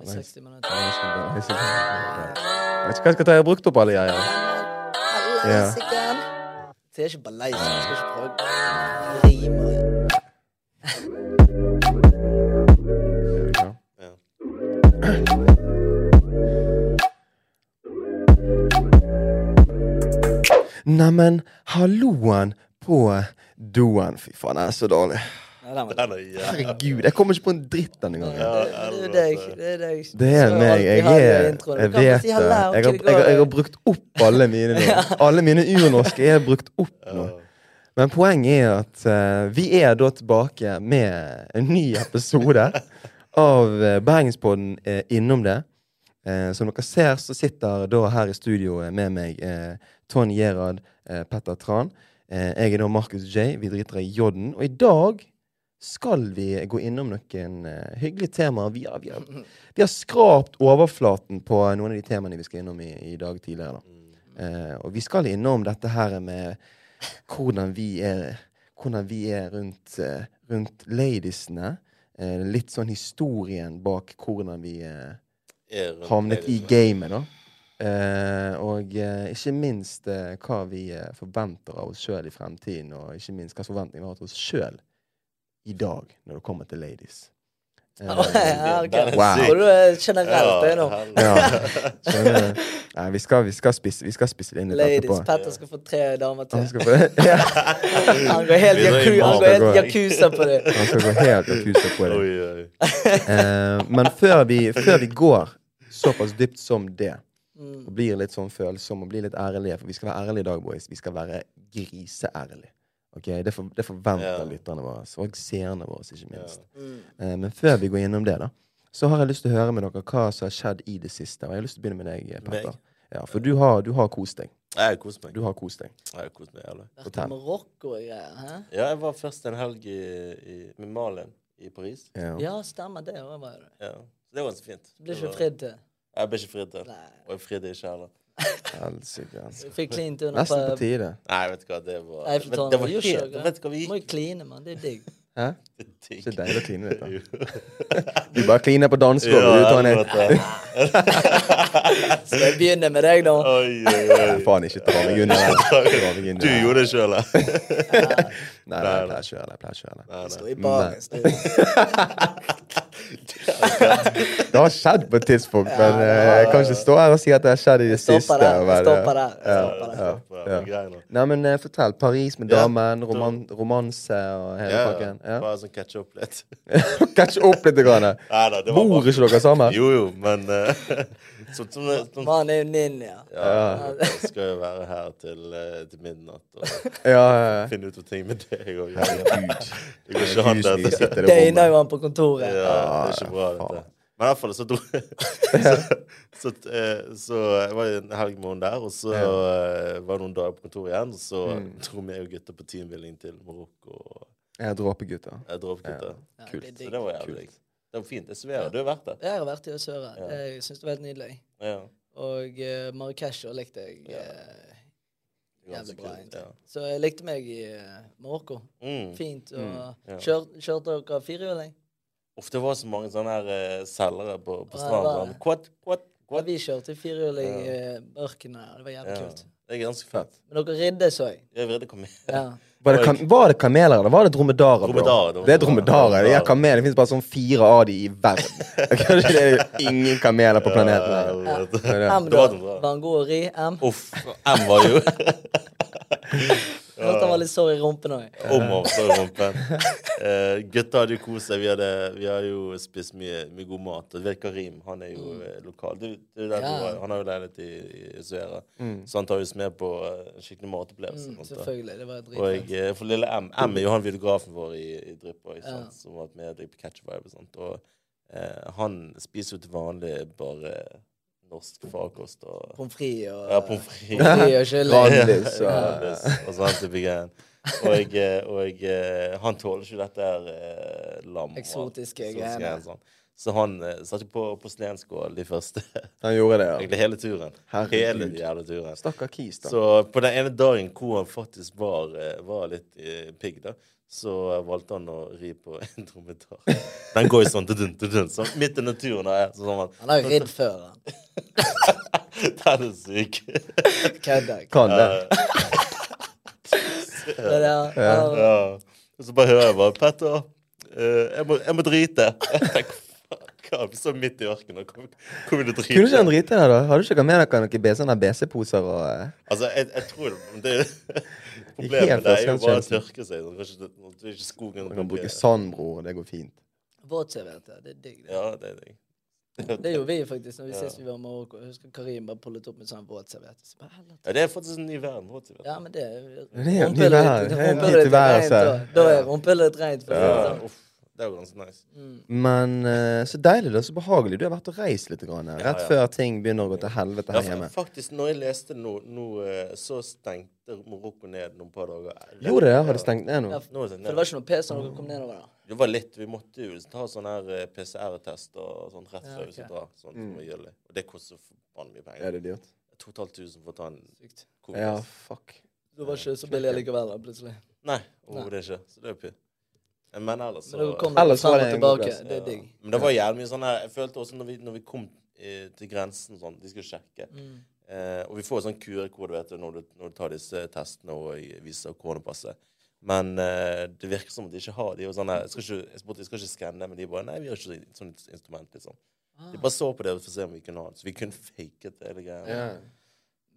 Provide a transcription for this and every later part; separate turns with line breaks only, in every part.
i 60 minutter.
Jeg skal bare- jeg skal- Jeg vet ikke hva jeg skal ta. Jeg har brukt opp alle jeg har.
Helsike! Det er ikke balleis. Jeg skal ikke prøve å rime.
Ja. Neimen, halloen på doen. Fy faen, jeg er så dårlig.
Ja, den var
Den er jævlig
Herregud, jeg kommer ikke på en dritt denne gangen.
Det er jo deg. Det er deg.
altså. Det er meg. Jeg er Jeg vet det. Jeg har, jeg, har, jeg har brukt opp alle mine nå. Alle mine urnorske er brukt opp nå. Men poenget er at eh, vi er da tilbake med en ny episode av eh, Bergenspodden eh, innom det. Eh, som dere ser, så sitter da her i studio eh, med meg eh, Tony Gerhard, eh, Petter Tran. Eh, jeg er da Markus J. Vi driter i J-en. Og i dag skal vi gå innom noen eh, hyggelige temaer. Vi har, vi, har, vi har skrapt overflaten på noen av de temaene vi skal innom i, i dag tidligere. da.
Mm.
Eh, og vi skal innom dette her med hvordan vi er, hvordan vi er rundt, eh, rundt ladiesene. Eh, litt sånn historien bak hvordan vi eh,
Er rundt
havnet i
hele-
gamet, da. Eh, og eh, ikke minst eh, hva vi eh, forventer av oss sjøl i fremtiden, og ikke minst hva forventninger vi har til oss sjøl i dag når det kommer til ladies. Eh,
Ja, ok.
Den er
Wow.
syk.
Tror du det er generelt det nå?
Ja,
ja. Skjønner du? Nei, vi skal, vi skal spisse vi skal spisse det inn litt
Ladies,
etterpå.
Petter skal få tre damer
Han
til.
skal få- ja,
Han går helt
Vi drar i
jaku- han
mat.
går helt yakuza på det.
han skal gå helt akuset på det.
Oi, oi.
Eh, men før vi, før vi går såpass dypt som det,
Mm.
og blir litt sånn følsom og blir litt ærlige For vi skal være ærlige i dag, boys. Vi skal være griseærlige. Ok? Det, for, det forventer
Ja.
lytterne våre. Og seerne våre, ikke minst.
Mm.
Eh, men før vi går innom det, da, så har jeg lyst til å høre med dere hva som har skjedd i det siste. Og jeg har lyst til å begynne med deg, eh, Petter.
Meg?
Ja, for du har, du har kost deg.
Jeg koser meg.
Du har kost deg.
Jeg har kost meg jævlig.
Vært i Marokko og greier. hæ?
Ja, jeg var først en helg i, i, med Malin i Paris.
Ja.
Ja, stemmer det. Hva var det?
Ja. Så det var ganske fint.
Blir
Det
ikke
var-
fridd til.
Jeg ble ikke fridd til.
Nei.
Og jeg fridde ikke heller.
Helsike, altså.
Fikk klint under
Nesten på
på
tide.
Nei, vet du hva, det var
Nei,
vet,
for
det
faen,
var
gjør ikke
helt
det.
Vet du hva, vi
Må jo
gikk
kline, mann. Det er digg.
Hæ?
digg.
Ikke deilig å kline litt, da.
Jo.
Du bare kliner på dansegulvet, du,
Ja,
Tonje.
akkurat det.
Så jeg begynner med deg, da.
Oi, oi,
Nei, faen, ikke ta meg under den. Dra meg
oi.
inn
Du
i den.
gjorde det sjøl, da.
Nei, nei, jeg pleier ikke å gjøre det. Jeg pleier ikke å gjøre det.
Stå i baren. stå i-
Det har skjedd på et tidspunkt, men eh, jeg kan ikke stå her og si at det har skjedd i det siste.
Stopper der.
og være-
Stopper der. Stopper der.
Ja, ja, ja.
Greier nå.
Nei, men eh, fortell. Paris med
Ja,
damen,
da-
roman, romanse og hele
Ja,
pakken. Ja.
bare sånn catch up litt.
Catch opp litt. Grann.
Nei da, det var
Bor
bare
ikke dere sammen?
Jo, jo, men eh, så, som, som,
Mann er jo ninja.
Ja, jeg skal jo være her til, eh, til midnatt og
Ja, ja, ja.
finne ut av ting med deg òg.
Herregud. Ah,
Det går ikke an,
Tusenvis
dette.
sitter i det
Døgner
rommet.
jo han på kontoret.
Ja, det er ikke bra, dette. Men i hvert fall så dro så, så, eh, så jeg var en helg med henne der, og så eh, var det noen dager på kontoret igjen. Og så
Mm.
dro vi og gutta på teambuilding til Marokko. Og
Jeg er dråpegutter.
jeg dro opp gutta.
Ja,
Kult.
det er
Så
digg.
det var jævlig. Det var fint. Jeg sverger, du har vært der.
Jeg har vært i Øsøra. Jeg syns det var helt nydelig.
Ja.
Og uh, Marrakech og likte jeg eh, jævlig
Ganske
bra.
kult,
egentlig.
ja.
Så jeg likte meg i eh, Marokko.
Mm.
Fint. Og
ja.
kjør, kjørte dere firehjuling?
Uff, det var så mange sånne her eh, selgere på, på
Ja, det var
stranden.
det.
Kvart, kvart,
Ja,
kvart.
vi kjørte firehjuling i eh, ørkenen. her. Det var jævlig
Ja.
kult.
Det er ganske fett.
Men dere ridde, så jeg.
Jeg vil komme med.
Ja.
Var det, kam var det kameler eller var det dromedarer? bro?
Dromedarer, dromedarer.
Det er dromedarer. De er kameler. Det fins bare sånn fire av de i verden. Kanskje det er ingen kameler på planeten. her.
Ja.
Ja.
M,
Det var
da.
den bra.
Var han god å ri? M?
Uff. M var jo
Jeg hørte han var litt sår i rumpen òg.
om og så i rumpen. Eh, gutta hadde jo kost seg. Vi hadde, vi hadde jo spist mye, mye god mat. Og du vet Karim, han er jo eh, lokal. Du, du, der,
Mm. Ja. Mm.
du var. Han har jo leilighet i, i Suera, så han tar oss med på eh, skikkelig matopplevelse. på en måte.
Selvfølgelig. Det var dritfett.
Og eh, for lille M M er jo han videografen vår i, i Dryppa, ikke sant, som har vært med i Catch Vibe og sånt. Og eh, han spiser jo til vanlig bare norsk farkost og
Pommes frites og
ja, pommes frites.
Pommes frites og kylling.
Grandis
Ja,
og
Grandis, og sånn type greier. Og, eh, og eh, han tåler ikke dette her eh, lam. og alt.
Eksotiske
Eksotiske
greiene.
greier og Sånn. Så han eh, satte på porselenskål de første.
Han gjorde det, ja.
Egentlig hele turen.
Herregud.
Hele den jævla turen.
Stakkar Kis, da.
Så på den ene dagen hvor han faktisk var, eh, var litt eh, pigg, da, så eh, valgte han å ri på en trommetar. Den går jo sånn, dun, dun, dun, sånn midt i naturen. Der, sånn, sånn, man-
Han har jo ridd før, han.
Den er syk.
Kødder ikke.
Kan det.
Det der, han-
Ja. Og så bare hører jeg bare Petter, eh, jeg, må, jeg må drite. Jeg tenker, fuck, hva, vi står midt i ørkenen. Hvor hvor vil du drite?
Kunne ikke han drite der, da? Hadde ikke dere med dere noen be- sånne BC-poser og eh,
Altså, jeg, jeg tror det, men det
Helt
Problemet det er jo
forskjellig
bare å
kjensel.
tørke seg. sånn. Kanskje det- Nå er ikke skogen
Man kan bruke sandbro, og det går fint.
Våt-TV, dette. Det er digg. det.
Ja, det er det.
Det gjorde vi faktisk når vi
Ja.
sist vi var i Marokko. Jeg husker Karim bare pullet opp med sånn våtserviett. Så bare, helvete.
Ja, det er faktisk en ny verden. vet du.
Ja, men det
er jo
rumpehullet-
ny vær. altså. Det er en
rumpehullet
ny tilværelse.
rent, da. Da er rumpehullet rent. For å si det
Ja,
sånn. Mm.
uff, det er jo ganske nice.
Men eh, så deilig, da. Så behagelig. Du har vært og reist litt, grann, eh, rett
ja.
før ting begynner å gå til helvete
Ja,
her
fa-
hjemme.
faktisk, når jeg leste nå, nå eh, så stengte Marokko ned noen par dager.
Gjorde det? Har det stengt ned nå?
Ja,
Nå
For
er det
det
ned.
var ikke noe pes når dere kom nedover der.
Det var litt, Vi måtte jo ta sånn her eh, PCR-test og sånn rett før vi
ok.
skulle dra. Sånn
Mm.
som vi gjør det. Og det koster så forbanna mye
Er
penger.
det dyrt?
2500 for å ta en
Sykt.
covid
Ja, fuck.
Det var ikke så billig likevel, da, plutselig.
Nei, overhodet ikke. Så det er jo pytt. Men ellers så
Men dere kom
Ellers
fram
var
og
det en god
tilbake.
plass,
Det
Ja.
er digg.
Men det var jævlig mye sånn her Jeg følte også når vi, når vi kom eh, til grensen sånn De skulle sjekke. Eh, og vi får sånn QR-kode vet du, når, du, når du tar disse testene og viser koronapasset. Men eh, det virker som at de ikke har de. Og sånn her, jeg, skal ikke, jeg spurte de skal ikke skanne, men de bare Nei, vi har ikke sånt sånt instrument, liksom. De bare så på det for å se om vi kunne ha det. Så vi kunne faket det hele greia.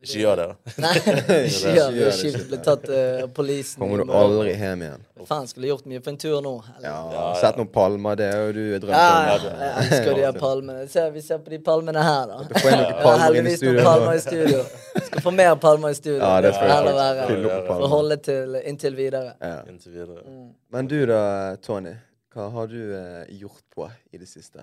Ikke gjør det, da.
Nei, ikke gjør det. Det er
Ikke gjør det,
kjipt å bli tatt eh, av politien. i
Kommer du
morgen.
aldri hjem igjen?
Faen, skulle gjort mye på en tur nå. eller?
Ja,
ja.
Sett noen palmer, det er jo du drømt
Ja,
om.
ja, jeg elsker de her palmene. Se, vi ser på de palmene her, da.
Få inn noen
Ja,
palmer inn i
heldigvis noen
studio.
palmer i studio. Skal få mer palmer i studio.
Ja, det skal
Heller
jeg
være-
faktisk fylle
For
opp på
å
palmer.
holde til inntil videre.
Ja.
Inntil videre.
Men du da, Tony. Hva har du eh, gjort på i det siste?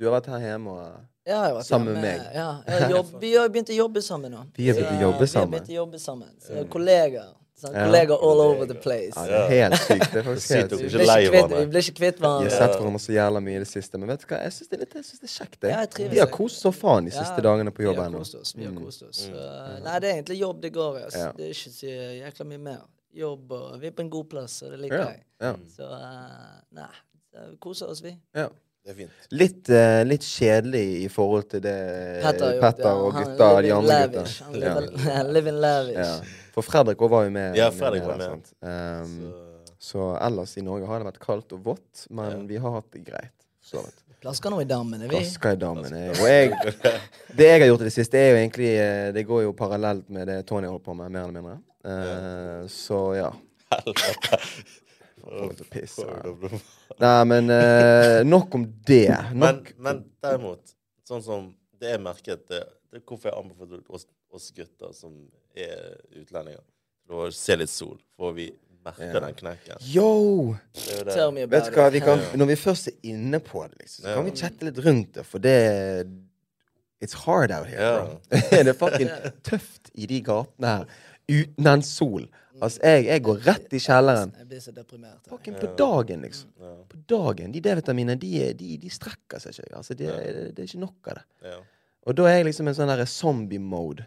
Du har vært her hjemme og
Ja, jeg har vært
Sammen
hjemme.
med meg.
Ja, jeg har jobb, vi har jo begynt å jobbe sammen nå.
Vi har begynt å
Så,
jobbe
vi har
sammen.
begynt å jobbe sammen. Så vi er kollegaer. Sånn,
Ja.
Kolleger all over the place.
Ja, det er helt sykt. Det er faktisk
Det er
helt
sykt
Vi
sykt.
ikke
blir
lei
ikke
av
kvitt,
hverandre.
vi blir ikke kvitt
Vi har
hverandre.
sett hverandre så jævla mye i det siste, men vet du hva? Jeg syns det, er litt- jeg synes det er kjekt.
Ja, jeg
Jeg.
trives,
Vi har
jeg.
kost oss så faen de siste dagene på
Vi
jobb
har
ennå.
kost oss. Vi har kost oss. Så, nei, det er egentlig jobb det går i. ass.
Mm. Ja.
Det er ikke så jækla mye mer. Jobb og Vi er på en god plass, og det liker
Ja,
jeg.
ja,
Så eh, nei, så vi koser oss, vi.
ja.
Det er fint.
Litt, eh, litt kjedelig i forhold til det
Petter har gjort det.
Petter og
Han
gutta,
live
de
in
andre gutta.
lavish. Han live- live in lavish.
Ja. For Fredrik også var jo med.
Ja,
med-
Fredrik
der,
var med.
sant? Ehm,
Så,
så ellers i Norge har det vært kaldt og vått, men vi har hatt det greit. Så vidt.
Plasker nå i dammen, er vi?
Gaska i dammen. er jo- Og jeg, det jeg har gjort i det siste, er jo egentlig eh, Det går jo parallelt med det Tony holder på med, mer eller mindre. Eh, så ja.
helvete. altså.
Kommer til å pisse.
Får
ja.
vi doble-
Nei, men eh, nok om det.
Men,
Nok.
men derimot, sånn som det er merket det, det er Hvorfor jeg anbefaler oss, oss gutter som er utlendinger, til å se litt sol, for vi merker den knekken.
Yo!
Det er jo
Tell
det.
me about
Vet du hva,
it.
vi kan, når vi først er inne på det, liksom, så kan vi chatte litt rundt det, for det It's hard out here, bro. det er fucking tøft i de gatene her uten den sol. Altså, jeg, jeg går rett i kjelleren.
Jeg blir så deprimert. jeg.
Fucking på dagen, liksom. På dagen. De D-vitaminene, de, er- de, de strekker seg ikke. Altså, det, det er ikke nok av det.
Ja.
Og da er jeg liksom en sånn der zombie-mode.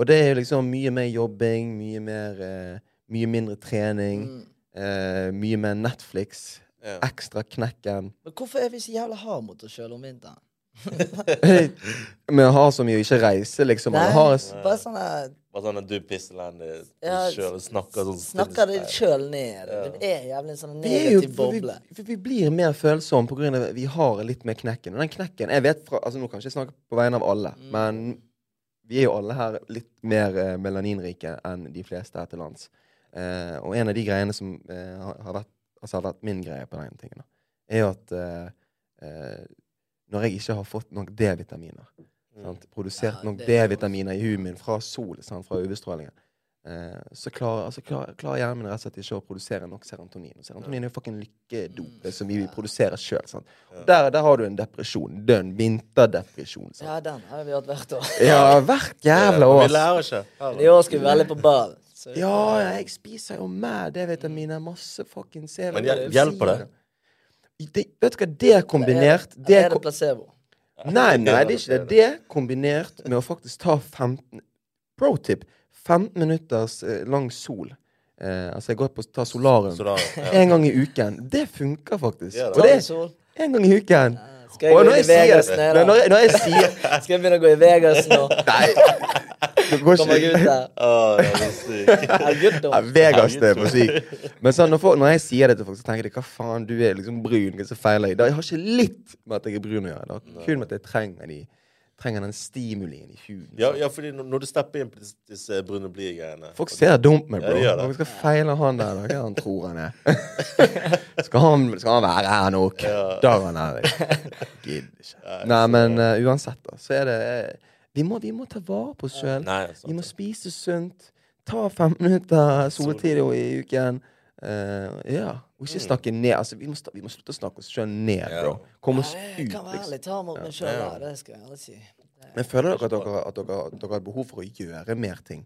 Og det er jo liksom mye mer jobbing, mye mer eh, Mye mindre trening,
Mm.
eh, mye mer Netflix,
Mm. Ja.
ekstra knekken
Men hvorfor er vi så jævla hard mot oss sjøl om vinteren?
Men jeg har så mye å ikke reise, liksom.
Nei,
Jeg har s-
bare sånn der
Bare sånn at du pisselandet
Ja,
sjøl snakker sånn
Snakker det sjøl ned. Det er jævlig en sånn
vi er jo,
negativ
for vi,
boble.
for vi blir mer følsomme på grunn av at vi har litt mer knekken. Og den knekken jeg vet fra, altså Nå kan jeg ikke snakke på vegne av alle,
Mm.
men vi er jo alle her litt mer eh, melaninrike enn de fleste her til lands. Eh, og en av de greiene som eh, har, har, vært, altså har vært min greie på den tingen, da, er jo at eh, eh, når jeg ikke har fått nok D-vitaminer
Mm.
sant, Produsert
Ja,
nok
det er jo-
D-vitaminer i huden min fra sol, sant, fra UV-strålingen eh, så klarer altså, klar, klarer hjernen min rett og slett ikke å produsere nok serotonin. Og serotonin er jo fucking lykkedop det som vi produserer sjøl. Der, der har du en depresjon. Dønn vinterdepresjon. Sant?
Ja, den har vi hatt hvert år.
Ja, hvert jævla
Vi
år.
lærer ikke.
I år skal vi veldig på ball. Så
Ja, jeg spiser jo mer D-vitaminer, masse fucking C.
Men hjel- hjelper det?
det? Vet du hva, det kombinert
Er-
det
Er det
kom
placebo?
Nei, nei, det er ikke det. Det kombinert med å faktisk ta 15 Pro tip 15 minutters eh, lang sol Eh, altså, jeg går på tar solarium
Solarium, ja.
en gang i uken. Det funker faktisk.
Ja, da.
og det er
sol.
en gang i uken.
Skal jeg
Og
gå
når
i
jeg
Vegas
sier,
nå,
når, når,
da?
jeg- når jeg sier
Skal jeg begynne å gå i Vegas nå?
Nei! Det går
Kommer jeg ut
ikke.
der?
Å, det er sykt.
Er det gutt,
Ja,
da?
Vegas det er for sykt. Men sånn, når, folk, når jeg sier det til folk, så tenker de hva faen, du er liksom brun. Hva er det som feiler deg? Da- Jeg har ikke litt med at jeg er brun å gjøre. Det har kun med at jeg trenger, de, trenger den stimulien i huden.
Ja, ja, fordi når- når du stepper inn på disse, disse brune blie-greiene
Folk ser dumt med bro.
Ja, de gjør det.
Hva skal feile han der? da? Hva er det han tror han er? skal, han, skal han være her nok? Da er han her. Jeg Gidder ikke. Nei, men eh, uansett, da, så er det eh, vi, må, vi må ta vare på oss sjøl.
Nei, sant.
Vi må spise sunt. Ta fem minutter soltid jo i uken. Eh, ja. Og
Mm.
ikke snakke ned. Altså, vi, må, sta- vi må slutte å snakke oss sjøl ned, bro. Komme oss
Nei,
ut,
Jeg kan være
liksom.
ærlig, ta mot meg sjøl, da. Det skal jeg ærlig si.
Men føler dere at dere, at dere, at dere har behov for å gjøre mer ting?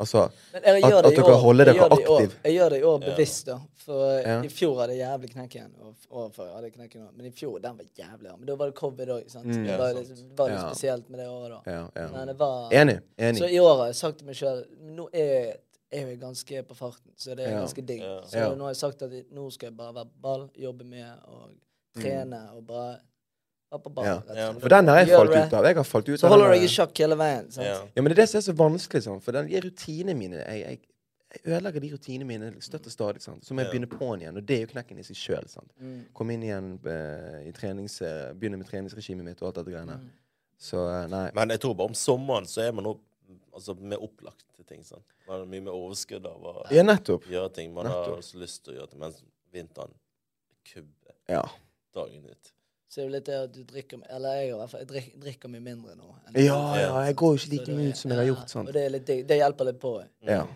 Altså
Men jeg
At-
gjør det
at
i
dere
år.
holder
Jeg
dere
gjør det i år.
aktiv.
Jeg gjør det i år bevisst, da. For eh,
Ja.
i fjor hadde jeg jævlig knekken. Og f- året før hadde jeg knekken òg. Men i fjor, den var jævlig hard. Men da var det covid òg, sant. det var jo liksom- var litt
Mm. Ja.
spesielt med det året, da.
ja, ja.
Men det var
Enig.
Så
Enig.
i år har jeg sagt til meg sjøl Nå er er jeg ganske på farten, så det er
Ja.
ganske digg.
Ja.
Så
Ja.
nå har jeg sagt at nå skal jeg bare være på ball, jobbe med og trene og bare være på ball.
Mm. Ja.
rett og
Ja,
slett.
For den har jeg
Gjør
falt
det.
ut av. Jeg har falt ut
Så
av den
holder du
der-
deg i sjakk hele veien. sant?
Ja.
Ja, men det er det som er så vanskelig, sånn. for den- de rutinene mine jeg, jeg, jeg ødelegger de rutinene mine støtt og stadig. Sant? Så må jeg
Ja.
begynne på'n igjen, og det er jo knekken i seg sjøl.
Mm.
Komme inn igjen eh, i trenings... eh, Begynne med treningsregimet mitt og alt dette
Mm.
greiene. Så eh, nei.
Men jeg tror bare om sommeren så er man opp, altså, mer opplagt til ting. sant? Man har mye mer overskudd av å
Ja, nettopp.
gjøre ting man har
Nettopp.
også lyst til å gjøre, ting, mens vinteren kubber
Ja.
dagen ut.
Så er det litt det at du drikker m- Eller jeg, i hvert fall, jeg drikker, drikker mye mindre nå. enn-
Ja, ja, jeg går jo ikke
Så
like
det-
mye ut som jeg har
ja,
gjort. Sant?
Og det, er litt, digg. det hjelper litt på.
Ja.
Mm.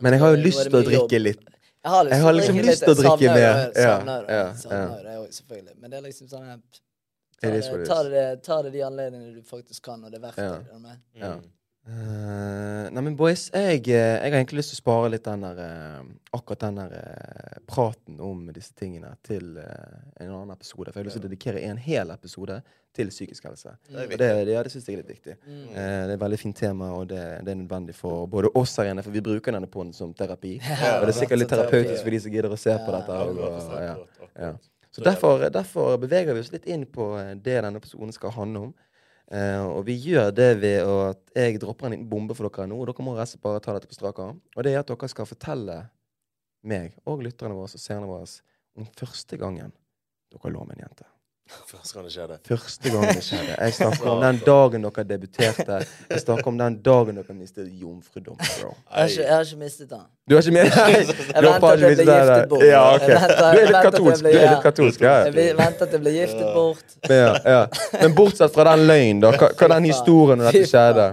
Men jeg har jo
Nå er det
lyst til å
mye jobb.
drikke litt.
Jeg har, lyst,
Jeg har liksom
drikke
lyst til å
litt. Jeg
drikke
savner jo det,
mer. Ja,
savner jo det,
ja, ja.
savner jo det også, selvfølgelig. Men det er liksom sånn at Ta
It
det,
is what it
Eh, ta,
is.
det, ta det de anledningene du faktisk kan, og det er verdt
Ja.
det. er du med?
Ja.
Mm.
Eh, nei, men boys, jeg, eh, jeg har egentlig lyst til å spare litt den der eh, akkurat den der eh, praten om disse tingene til eh, en annen episode. For jeg har lyst til å dedikere en hel episode til psykisk helse.
Mm.
Og
Det er Mm. viktig.
det, det, ja, det syns jeg er litt viktig. Eh, det er et veldig fint tema, og det, det er nødvendig for både oss her inne, for vi bruker denne poden som terapi. og det er sikkert litt
som terapi,
terapeutisk for de som gidder å se på dette. Og,
akkurat,
og, ja.
akkurat, akkurat.
Ja. Så derfor, derfor beveger vi oss litt inn på eh, det denne episoden skal handle om. Eh, og vi gjør det ved å at jeg dropper en liten bombe for dere nå. Og dere må resten bare ta dette på strak arm. Og det er at dere skal fortelle meg og lytterne våre og seerne våre om første gangen dere lå med en jente.
Først kan det skje, det.
Første gang det skjedde. Jeg snakker om den dagen dere debuterte. Jeg snakker om den dagen dere mistet jomfrudom. bro.
Jeg har ikke, jeg har ikke mistet den.
Du har ikke med deg
Jeg venter at jeg blir giftet bort.
Ja, ok.
Jeg venter-
Du er
jeg venter
litt
at jeg
katolsk.
blir-
Du er
ja.
litt katolsk, ja.
Jeg blir- venter at jeg blir giftet bort.
Men, ja, ja. Men bortsett fra den løgnen, da. Hva, hva er den historien når dette skjedde?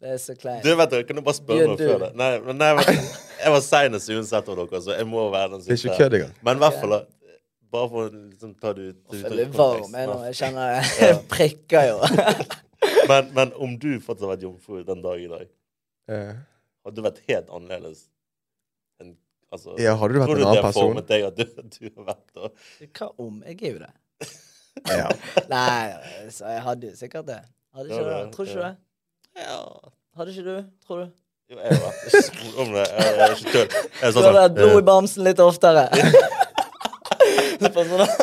Det er så kleint.
Du, vet du, Kan du bare spørre
Gjør
meg
du.
før det? Nei, men nei, men, jeg var seinest uansett av dere, så jeg må være den
Det er ikke kødd engang.
Men i hvert fall, da, bare for å liksom, ta det ut
Jeg blir varm jeg nå. Jeg kjenner jeg prikker jo.
Men, men om du fortsatt hadde vært jomfru den dag i dag,
Eh,
hadde du vært helt annerledes? enn- altså,
Ja, hadde du vært
tror
en annen
det har
person?
formet deg at du, at du har vært da?
Hva om? Jeg er jo det.
Ja.
Nei, så jeg hadde jo sikkert det. Hadde ikke
Ja,
det.
det-
Tror ikke du det?
Ja.
Hadde ikke du? Tror du?
Jo, jeg har vært jeg spurte om det. Jeg, jeg er ikke tøll. Jeg er
Du
sånn
hadde hatt
sånn,
blod i bamsen litt oftere. På sånn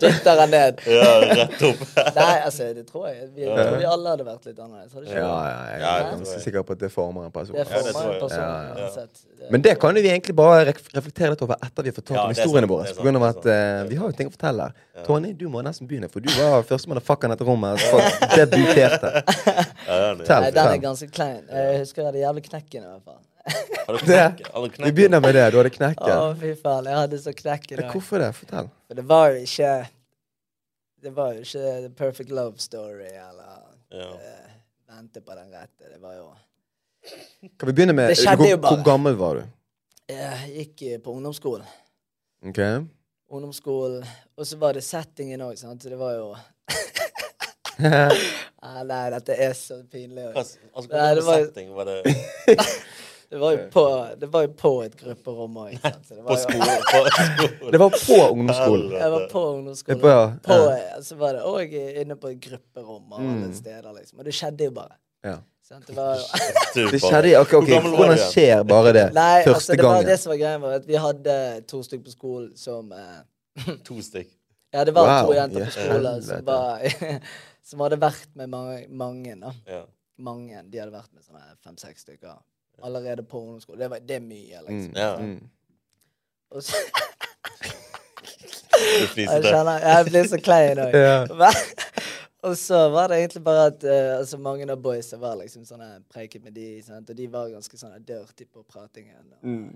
Dytter han ned.
eh, Ja, rett opp.
Nei, altså, det tror jeg. Vi, jeg tror vi alle hadde vært litt annerledes. Hadde ikke det?
Ja, ja, jeg er ganske sikker på at det former en person.
Det
Ja, det
former
tror
en
jeg.
person
Ja, ja.
uansett. Det-
Men det kan jo vi egentlig bare ref- reflektere litt over etter vi har fortalt
Ja,
om
det er sant,
historiene
det
våre.
er
På grunn av
sant,
at
det
eh, vi har jo ting å fortelle. Tony, du må nesten begynne, for du var første motherfuckeren i dette rommet. altså, som Debuterte.
Ja, ja, ja.
Nei,
Fortell.
den er
fortell.
ganske klein. Jeg husker jeg hadde jævlig knekken i hvert fall.
Har du
Det-
knekket? Har du
Vi
knekket?
begynner med det. Du hadde
Å,
knekken.
fy faen. Jeg hadde så knekk i
Men
dag.
Hvorfor det? Fortell.
For det var jo ikke Det var jo ikke The Perfect Love Story eller
Ja.
eh, Vente på den rette. Det var jo
Kan vi begynne med
Det skjedde
hvor,
jo bare.
hvor gammel var du?
Jeg gikk eh, på ungdomsskolen.
Ok?
Ungdomsskolen. Og så var det settingen òg, sant. Så det var jo ah, Nei, dette er så pinlig.
Hva s- Altså,
Nei, det
hva
var-
var... setting var det
Det var jo på, det var jo på et grupperom òg.
på skolen? På skolen.
Det var på ungdomsskolen.
Jeg var på ungdomsskolen.
Det er bra,
På,
ja.
så var det òg inne på et grupperom og alle steder, liksom. Og det skjedde jo bare.
Ja.
Sant? Det var
Det skjedde i ok, ok, Hvordan skjer bare det?
Nei, altså,
Første
det var
gangen.
det som var greia, var at vi hadde to stykker på skolen som eh,
To stykk.
Ja, det var
Wow,
to jenter på
i
skolen som,
helvete.
var, som hadde vært med mange, mange da.
Ja.
Mange. De hadde vært med sånne fem-seks stykker allerede på ungdomsskolen. Det, var, det er mye, liksom.
Mm,
Ja.
mm.
Og så,
Du
jeg
fniste.
kjenner Jeg blir så klein òg.
Ja.
og så var det egentlig bare at eh, altså mange av boysa var liksom sånne preiket med de, sant? og de var ganske sånn dirty på pratingen. Og,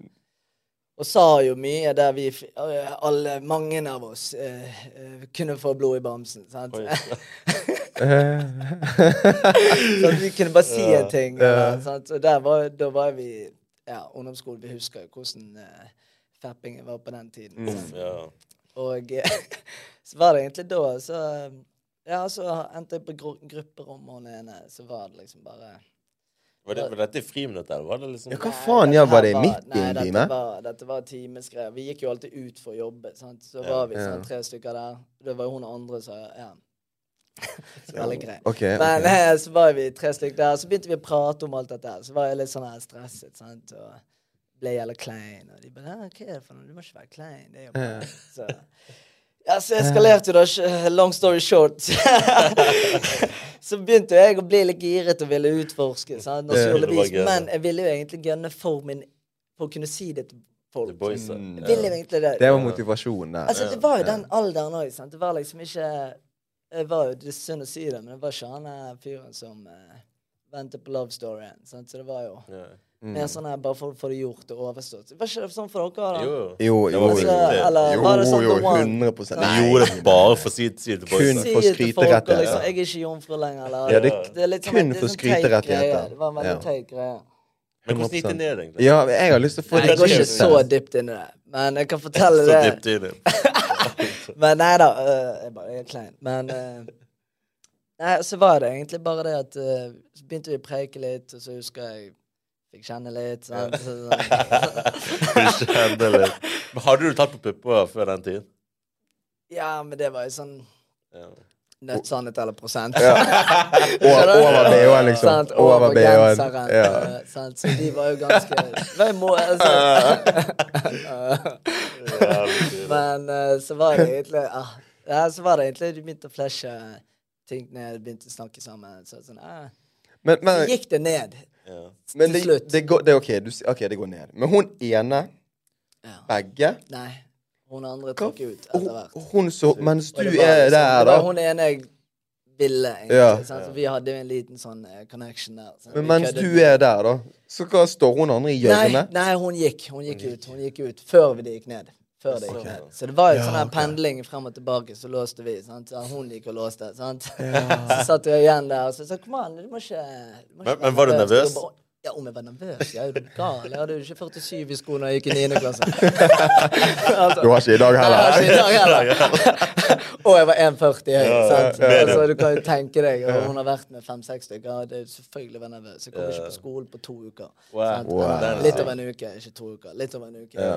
og sa jo mye der vi f- eh, alle, mange av oss, eh, eh, kunne få blod i bamsen. sant?
Oi.
Så at vi kunne bare si en ting.
Ja.
Eller, sant? Og der var, da var vi ja, ungdomsskolen. Vi husker jo hvordan eh, fappingen var på den tiden.
Mm.
sant?
Ja.
Og eh, så var det egentlig da så Ja, så endte jeg på gru grupperom og den ene, så var det liksom bare
Var, det, var dette i friminuttet, eller var det liksom
Ja, hva
Nei,
faen,
dette
ja,
her
var det i midt i
nei,
en
dette
time?
var- Dette var timesgreier. Vi gikk jo alltid ut for å jobbe. Sant? Så
Ja.
var vi
Ja.
sånn tre stykker der. Det var jo hun andre som ja. Så Veldig grei.
Ok,
Men
ok.
eh, så var vi tre stykker der, så begynte vi å prate om alt dette. her. Så var jeg litt sånn her stresset, sant, og ble jævla klein. Og de bare «Hæ, 'Hva er det for noe? Du må ikke være klein.' Det er jo
Ja.
bra. Så, ja, så eskalerte jo da. sh- Long story short. så begynte jeg å bli litt giret og ville utforske. Sant? naturligvis.
Det var gøy, da.
Men jeg ville jo egentlig gønne for min For å kunne si det til
The
folk.
Boys? da?
Mm.
Jeg ville jo egentlig det.
Det var motivasjonen der.
Altså, det var jo den alderen òg, sant. Det var liksom ikke Jeg var jo, Det er synd å si det, men det var ikke han eh, fyren som eh, ventet på love storyen. Sant? Så det var jo
Ja.
Mm.
mer sånn her bare for å få det gjort og overstått. Var ikke det sånn for dere? da?
Jo, jo.
Jo,
Det
jo,
var
jo.
Altså, eller
Jo,
var det sånn
jo,
the one?
100
De
Nei.
gjorde det bare for å si si det
Kun
til boysa.
for
Si det til folk, og
skryterettigheter.
liksom, jeg er ikke jomfru lenger. Eller,
Ja,
det-
er litt sånn-
kun
det er
for
sånn teit greie.
skryterettigheter.
Det var en veldig
Ja.
teit greie.
Men hvordan gikk det
100%.
ned, egentlig?
Ja, jeg har lyst til å få
Nei, jeg
det
går ikke
ut
så
der.
dypt inn i det, men jeg kan fortelle
Så
det.
dypt inn i det.
Men nei da, øh, jeg, bare, jeg er klein. Men øh, Nei, så var det egentlig bare det at øh, Så begynte vi å preike litt, og så husker jeg fikk kjenne litt. Sant? Så,
Du kjente litt. Men Hadde du tatt på pupper før den tid?
ja, men det var jo sånn
Ja.
nødt sannhet eller prosent.
Og- Over BH-en, liksom.
Sant,
Over
over
BH-en.
genseren.
Ja.
øh, sant? Så de var jo ganske det var jo må, altså. Men eh, så var det egentlig ah, ja, så var det egentlig Du begynte å flashe ting ned, begynte å snakke sammen. Så sånn, ah,
Men, men,
så gikk det ned.
Ja.
til
men det,
slutt.
det, går, det er OK, du, s- ok, det går ned. Men hun ene,
Ja.
begge
Nei. Hun andre
Hva
trakk ut
hun,
etter hvert.
hun så Mens
Og
du
det var
er
liksom- det
der,
var
da.
Hun ene jeg ville, egentlig.
Ja.
sant? Så vi hadde jo en liten sånn eh, connection der. sant?
Men
Vi
mens
køddet
du
mye.
er der, da, så hva står hun andre i
Nei,
hjørnet?
nei, hun gikk. Hun gikk ut. Hun gikk ut før det gikk ned. Før det gikk
Ok.
ned. Så det var jo sånn her pendling frem og tilbake, så låste vi. sant? Så hun gikk og låste. sant? Så satt jeg igjen der og så sa kom an, du må ikke, du må ikke
Men-
være
men var du nervøs?
Så jeg bare, Ja, om jeg var nervøs? Jeg er jo gal. Jeg hadde jo ikke 47 i sko da jeg gikk i 9. klasse. altså,
Du har ikke i dag
jeg har
heller.
ikke i dag heller. og jeg var 1,40 høy.
Ja,
sant?
ja, ja.
Altså, du kan jo tenke deg, og hun har vært med fem-seks stykker. og Det er jo selvfølgelig vært nervøs. Jeg kom ikke på skolen på to uker.
Wow.
sant?
Wow.
Eller Litt over en uke, ikke to uker. Litt over en uke.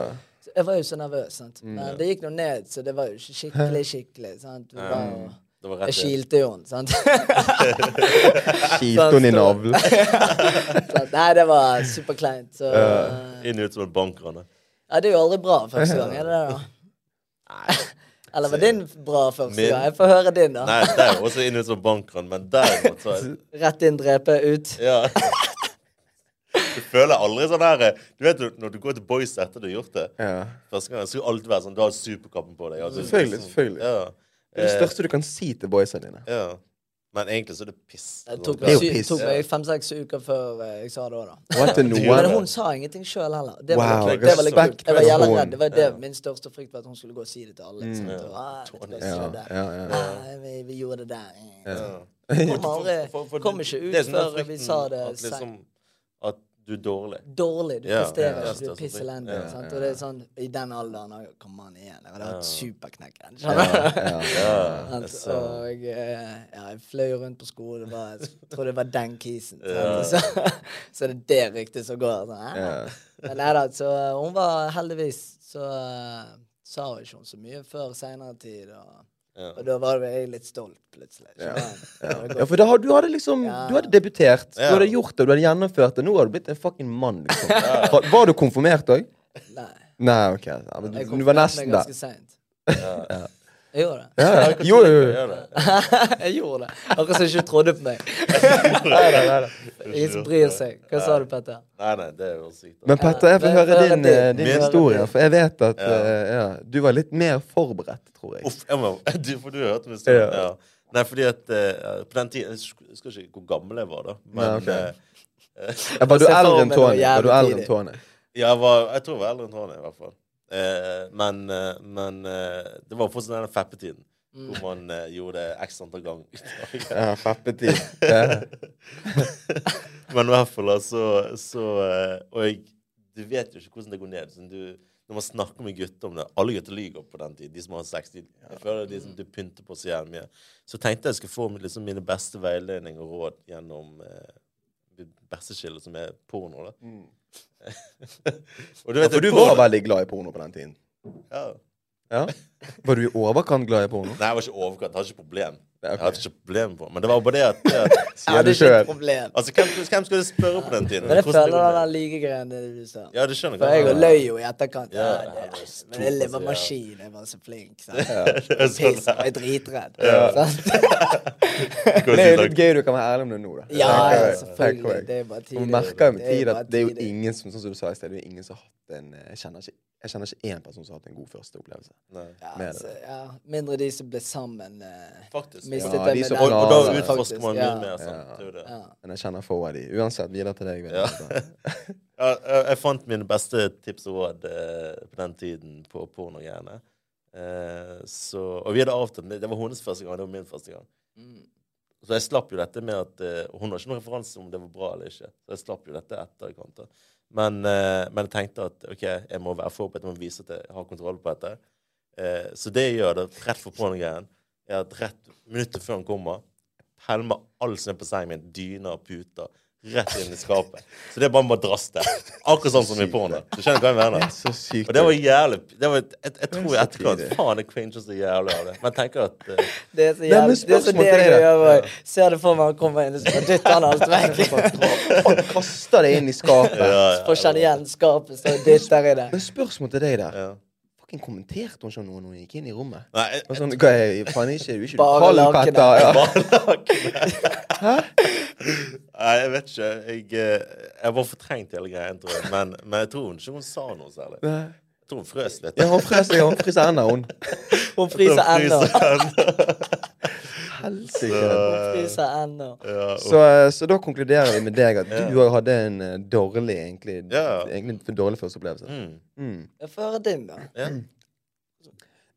Så jeg var jo så nervøs, sant.
Mm,
Men det gikk nå ned, så det var jo ikke skikkelig, skikkelig. sant? Det var jo...
Det var Mm. rett
Jeg
inn.
kilte jo henne, sant.
Kilte hun i navlen?
Så at, Nei, det var superkleint. Så eh,
Inn og ut som en bankrane.
Ja, det er jo aldri bra første gang, er det det, da? Eller var din bra første
Min-
gang? Jeg får høre din, da.
Nei, der også inn og ut som en bankran, men der måtte jeg
Rett inn, drepe, ut.
Ja. Du føler aldri sånn her Du vet jo, når du går til boys etter du har gjort det
Ja.
Første gang, så skal du alltid være sånn Du har superkappen på deg. altså,
Selvfølgelig,
sånn,
selvfølgelig. Det
Ja.
er det
Eh,
største du kan si til boysa dine.
ja. Men egentlig så er det piss.
Det tok
er
meg,
jo
sy-
piss.
tok meg fem-seks uker før eh, jeg sa det òg, da.
What the
Ja,
Men
det-
noe?
hun sa ingenting sjøl heller. Det var
Wow,
litt, kult. det var litt kult.
respekt
Jeg var
for
jævla
hun. Mm.
redd. Det var det min største frykt var at hun skulle gå og si det til alle. sant?
Ja.
Og, ah, jeg vet ikke hva
Ja,
jeg sa der.
ja, ja.
Ah, vi, vi gjorde det der.
Ja.
Kom,
For-
aldri,
for-
kom
det-
ikke
det er
ut
sånn den
før vi
frykten
sa det
At,
seint.
liksom, at du er dårlig.
dårlig. Du
Ja,
ja,
presterer
ja.
ikke, du er piss elendig.
Ja,
sant? Og det er sånn, I den alderen har jeg Kom an igjen, jeg hadde hatt superknekken.
Ja.
Ja,
Sant?
så,
Og eh, ja, jeg fløy jo rundt på skolen. Bare, jeg tror det var den kisen. sant?
Ja.
Så, så det er det ryktet som går. Sånn, eh?
Ja.
Men nei da, så eh, hun var heldigvis Så eh, sa hun ikke hun så mye før seinere tid. Og
Ja.
Og da var jeg litt stolt, plutselig.
Ja.
Skjønner du?
Ja.
Det går-
ja, for da, har- du hadde liksom
Ja.
Du hadde debutert,
Ja.
du hadde gjort det, du hadde gjennomført det. Nå har du blitt en fucking mann. Liksom. Var- Var du konfirmert òg?
Nei.
Nei, OK. Ja, men du,
Jeg
du
konfirmerte meg
var nesten der.
ganske seint.
Ja.
Jeg gjorde det.
Ja, ja. Jo, jo, jo.
Gjør det.
jeg gjorde det. Akkurat som jeg ikke trodde på meg. Ingen som bryr seg. Hva sa du, Petter?
Nei, nei, det er jo sykt. da.
Men Petter, jeg får
Men-
høre
men-
din, eh, din
Men-
historie. For jeg vet at
Ja.
eh, ja, du var litt mer forberedt, tror jeg.
Uff, jeg må, du, for du har hørt min historie.
Ja.
Ja. Nei, fordi at eh, på den tiden Jeg sk- husker ikke hvor gammel jeg var da. Men
Nei, ok.
eh,
Ja, var du
Se for
eldre
meg
enn
det var
Tony? Var du
jævlig
eldre
tidlig.
enn Tony?
ja, jeg, var, jeg tror jeg var eldre enn Tony, i hvert fall. Eh, men eh, men eh, det var fortsatt den feppetiden. Hvor man eh, gjorde det x antall ganger.
Ja, feppetid. Ja.
Men i hvert fall, da, så, så eh, Og jeg, du vet jo ikke hvordan det går ned. Så du, når man snakker med gutter om det Alle gutter lyver på den tid. De som har sex. De, jeg føler de, som, de pynter på så jævlig mye. Så tenkte jeg skulle få liksom, mine beste veiledning og råd gjennom eh, det beste skillet, som er porno. da. og du
Mm. Ja,
vet,
for du
porno-
var veldig glad i porno på den tiden.
ja.
Ja. Var du i overkant glad i porno?
Nei, jeg var ikke overkant. Jeg hadde ikke problem.
Ja, ok.
Jeg hadde ikke problem på Men det var bare det at, det at
Sier du
det er ikke
selv.
et problem.
Altså, hvem, hvem skulle jeg spørre på den tiden?
Men jeg
Hvordan
føler
det går
den
ned?
der ligegreien det du sa.
Ja, det skjønner
For jeg og løy jo i etterkant.
Ja,
Ja,
det er
det,
stor
men jeg lever
forskjell.
maskin. Jeg var så flink. Sant?
Det er sånn
Piss, jeg er dritredd.
Hvordan
Det er jo
snakker-
litt gøy du kan være ærlig om det nå, da.
Ja,
Tenker jeg,
ja, selvfølgelig.
tenker jeg.
Det er bare tidlig.
Man merker jo med
Det er
tid
bare
at det er jo
tidlig.
ingen som sånn som du sa i sted, det er jo ingen som har hatt en eh, Jeg kjenner ikke, jeg kjenner ikke én person som har hatt en god første opplevelse.
Nei.
ja,
med
altså, ja, Mindre de som ble sammen. eh,
Faktisk.
mistet
Ja,
det
de
med
som
den
Og, og da
personen,
utforsker man mye
faktisk.
Ja.
mer. sånn, Sant? Det er jo det.
Ja,
Men jeg kjenner få av de. Uansett, videre til deg.
Ja.
Videre.
Ja, jeg- jeg fant mine beste tips og råd eh, på den tiden på pornogreiene. Eh, så- og vi hadde avtalt Det det var hennes første gang, det var min første gang. Så jeg slapp jo dette med at eh, Hun har ikke noen referanse om det var bra eller ikke. Så jeg slapp jo dette etter i kant. da. Men, eh, men jeg tenkte at OK, jeg må være forberedt, jeg må vise at jeg har kontroll på dette. Eh, så det jeg gjør da, rett for pornogreien, er at rett minuttet før han kommer, pælmer all snø på sengen min, dyner og puter, rett inn i skapet. Så det er bare en madrass der. Akkurat sånn som i porno. Du skjønner hva jeg mener?
Så sykt.
Og det var jævlig det var, jeg, jeg tror i
så
etterkant
tidlig.
Faen, jeg cringer så jævlig av det. Men jeg tenker at eh,
Det er så
men
jævlig Det er så
spørsmål
det
til
jeg
deg, da.
gjør òg. Ser det for meg han kommer inn og så bare dytter han alt vekk.
Han kaster det inn i skapet.
Får kjenne igjen skapet, så dytter i det.
Men spørsmål til deg der.
ja.
Fucking kommenterte hun ikke noe når hun gikk inn i rommet?
Nei, jeg,
Og sånn, hva er faen ikke, du er ikke
Bare
du kald,
lakenet.
Petter? Ja.
Nei, jeg vet ikke. Jeg, eh, jeg var fortrengt hele greien, tror jeg. Men, men jeg tror hun ikke hun sa noe særlig.
Nei.
Jeg tror hun frøs litt.
Ja, hun frøs seg, hun fryser ennå, hun.
Hun fryser ennå.
Helsike.
Hun fryser ennå.
Ja,
Så, eh, så da konkluderer vi med deg at du hadde en eh, dårlig egentlig,
Ja.
egentlig en dårlig førsteopplevelse.
mm.
Mm.
Jeg får høre din, da.
ja.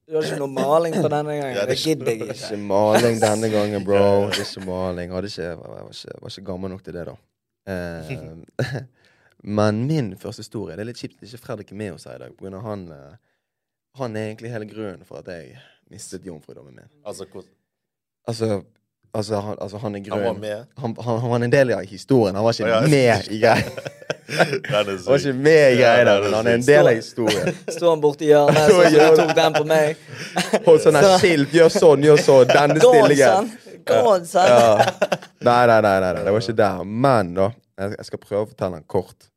Du har ikke noe maling på denne
Ja,
gangen.
det
Det gidder jeg ikke.
Ikke maling denne gangen, bro. Ikke maling. Hadde ikke, jeg var ikke, var ikke gammel nok til det, da. Eh, men min første historie Det er litt kjipt at ikke Fredrik er med oss her i dag. På grunn av han, eh, han er egentlig hele grunnen for at jeg mistet jomfrudommen min.
Altså, hvordan-
Altså, altså, han, altså, han er
han var
grunnen.
med.
Han, han, han var en del av historien. Han var ikke
Å, ja.
med i greia.
Den er
Han var ikke
syk.
med i greia,
Ja, det er
der, men han er en
sykt.
del av historien.
Sto han borti hjørnet, så
Så gjør
du tok den på meg.
Hold sånne skilt. Gjør sånn, gjør sånn. Denne stillingen.
Gårdsen! Gårdsen!
Ja. Nei, nei, nei, nei, nei, det var ikke der. Men da, jeg jeg skal prøve å fortelle den kort.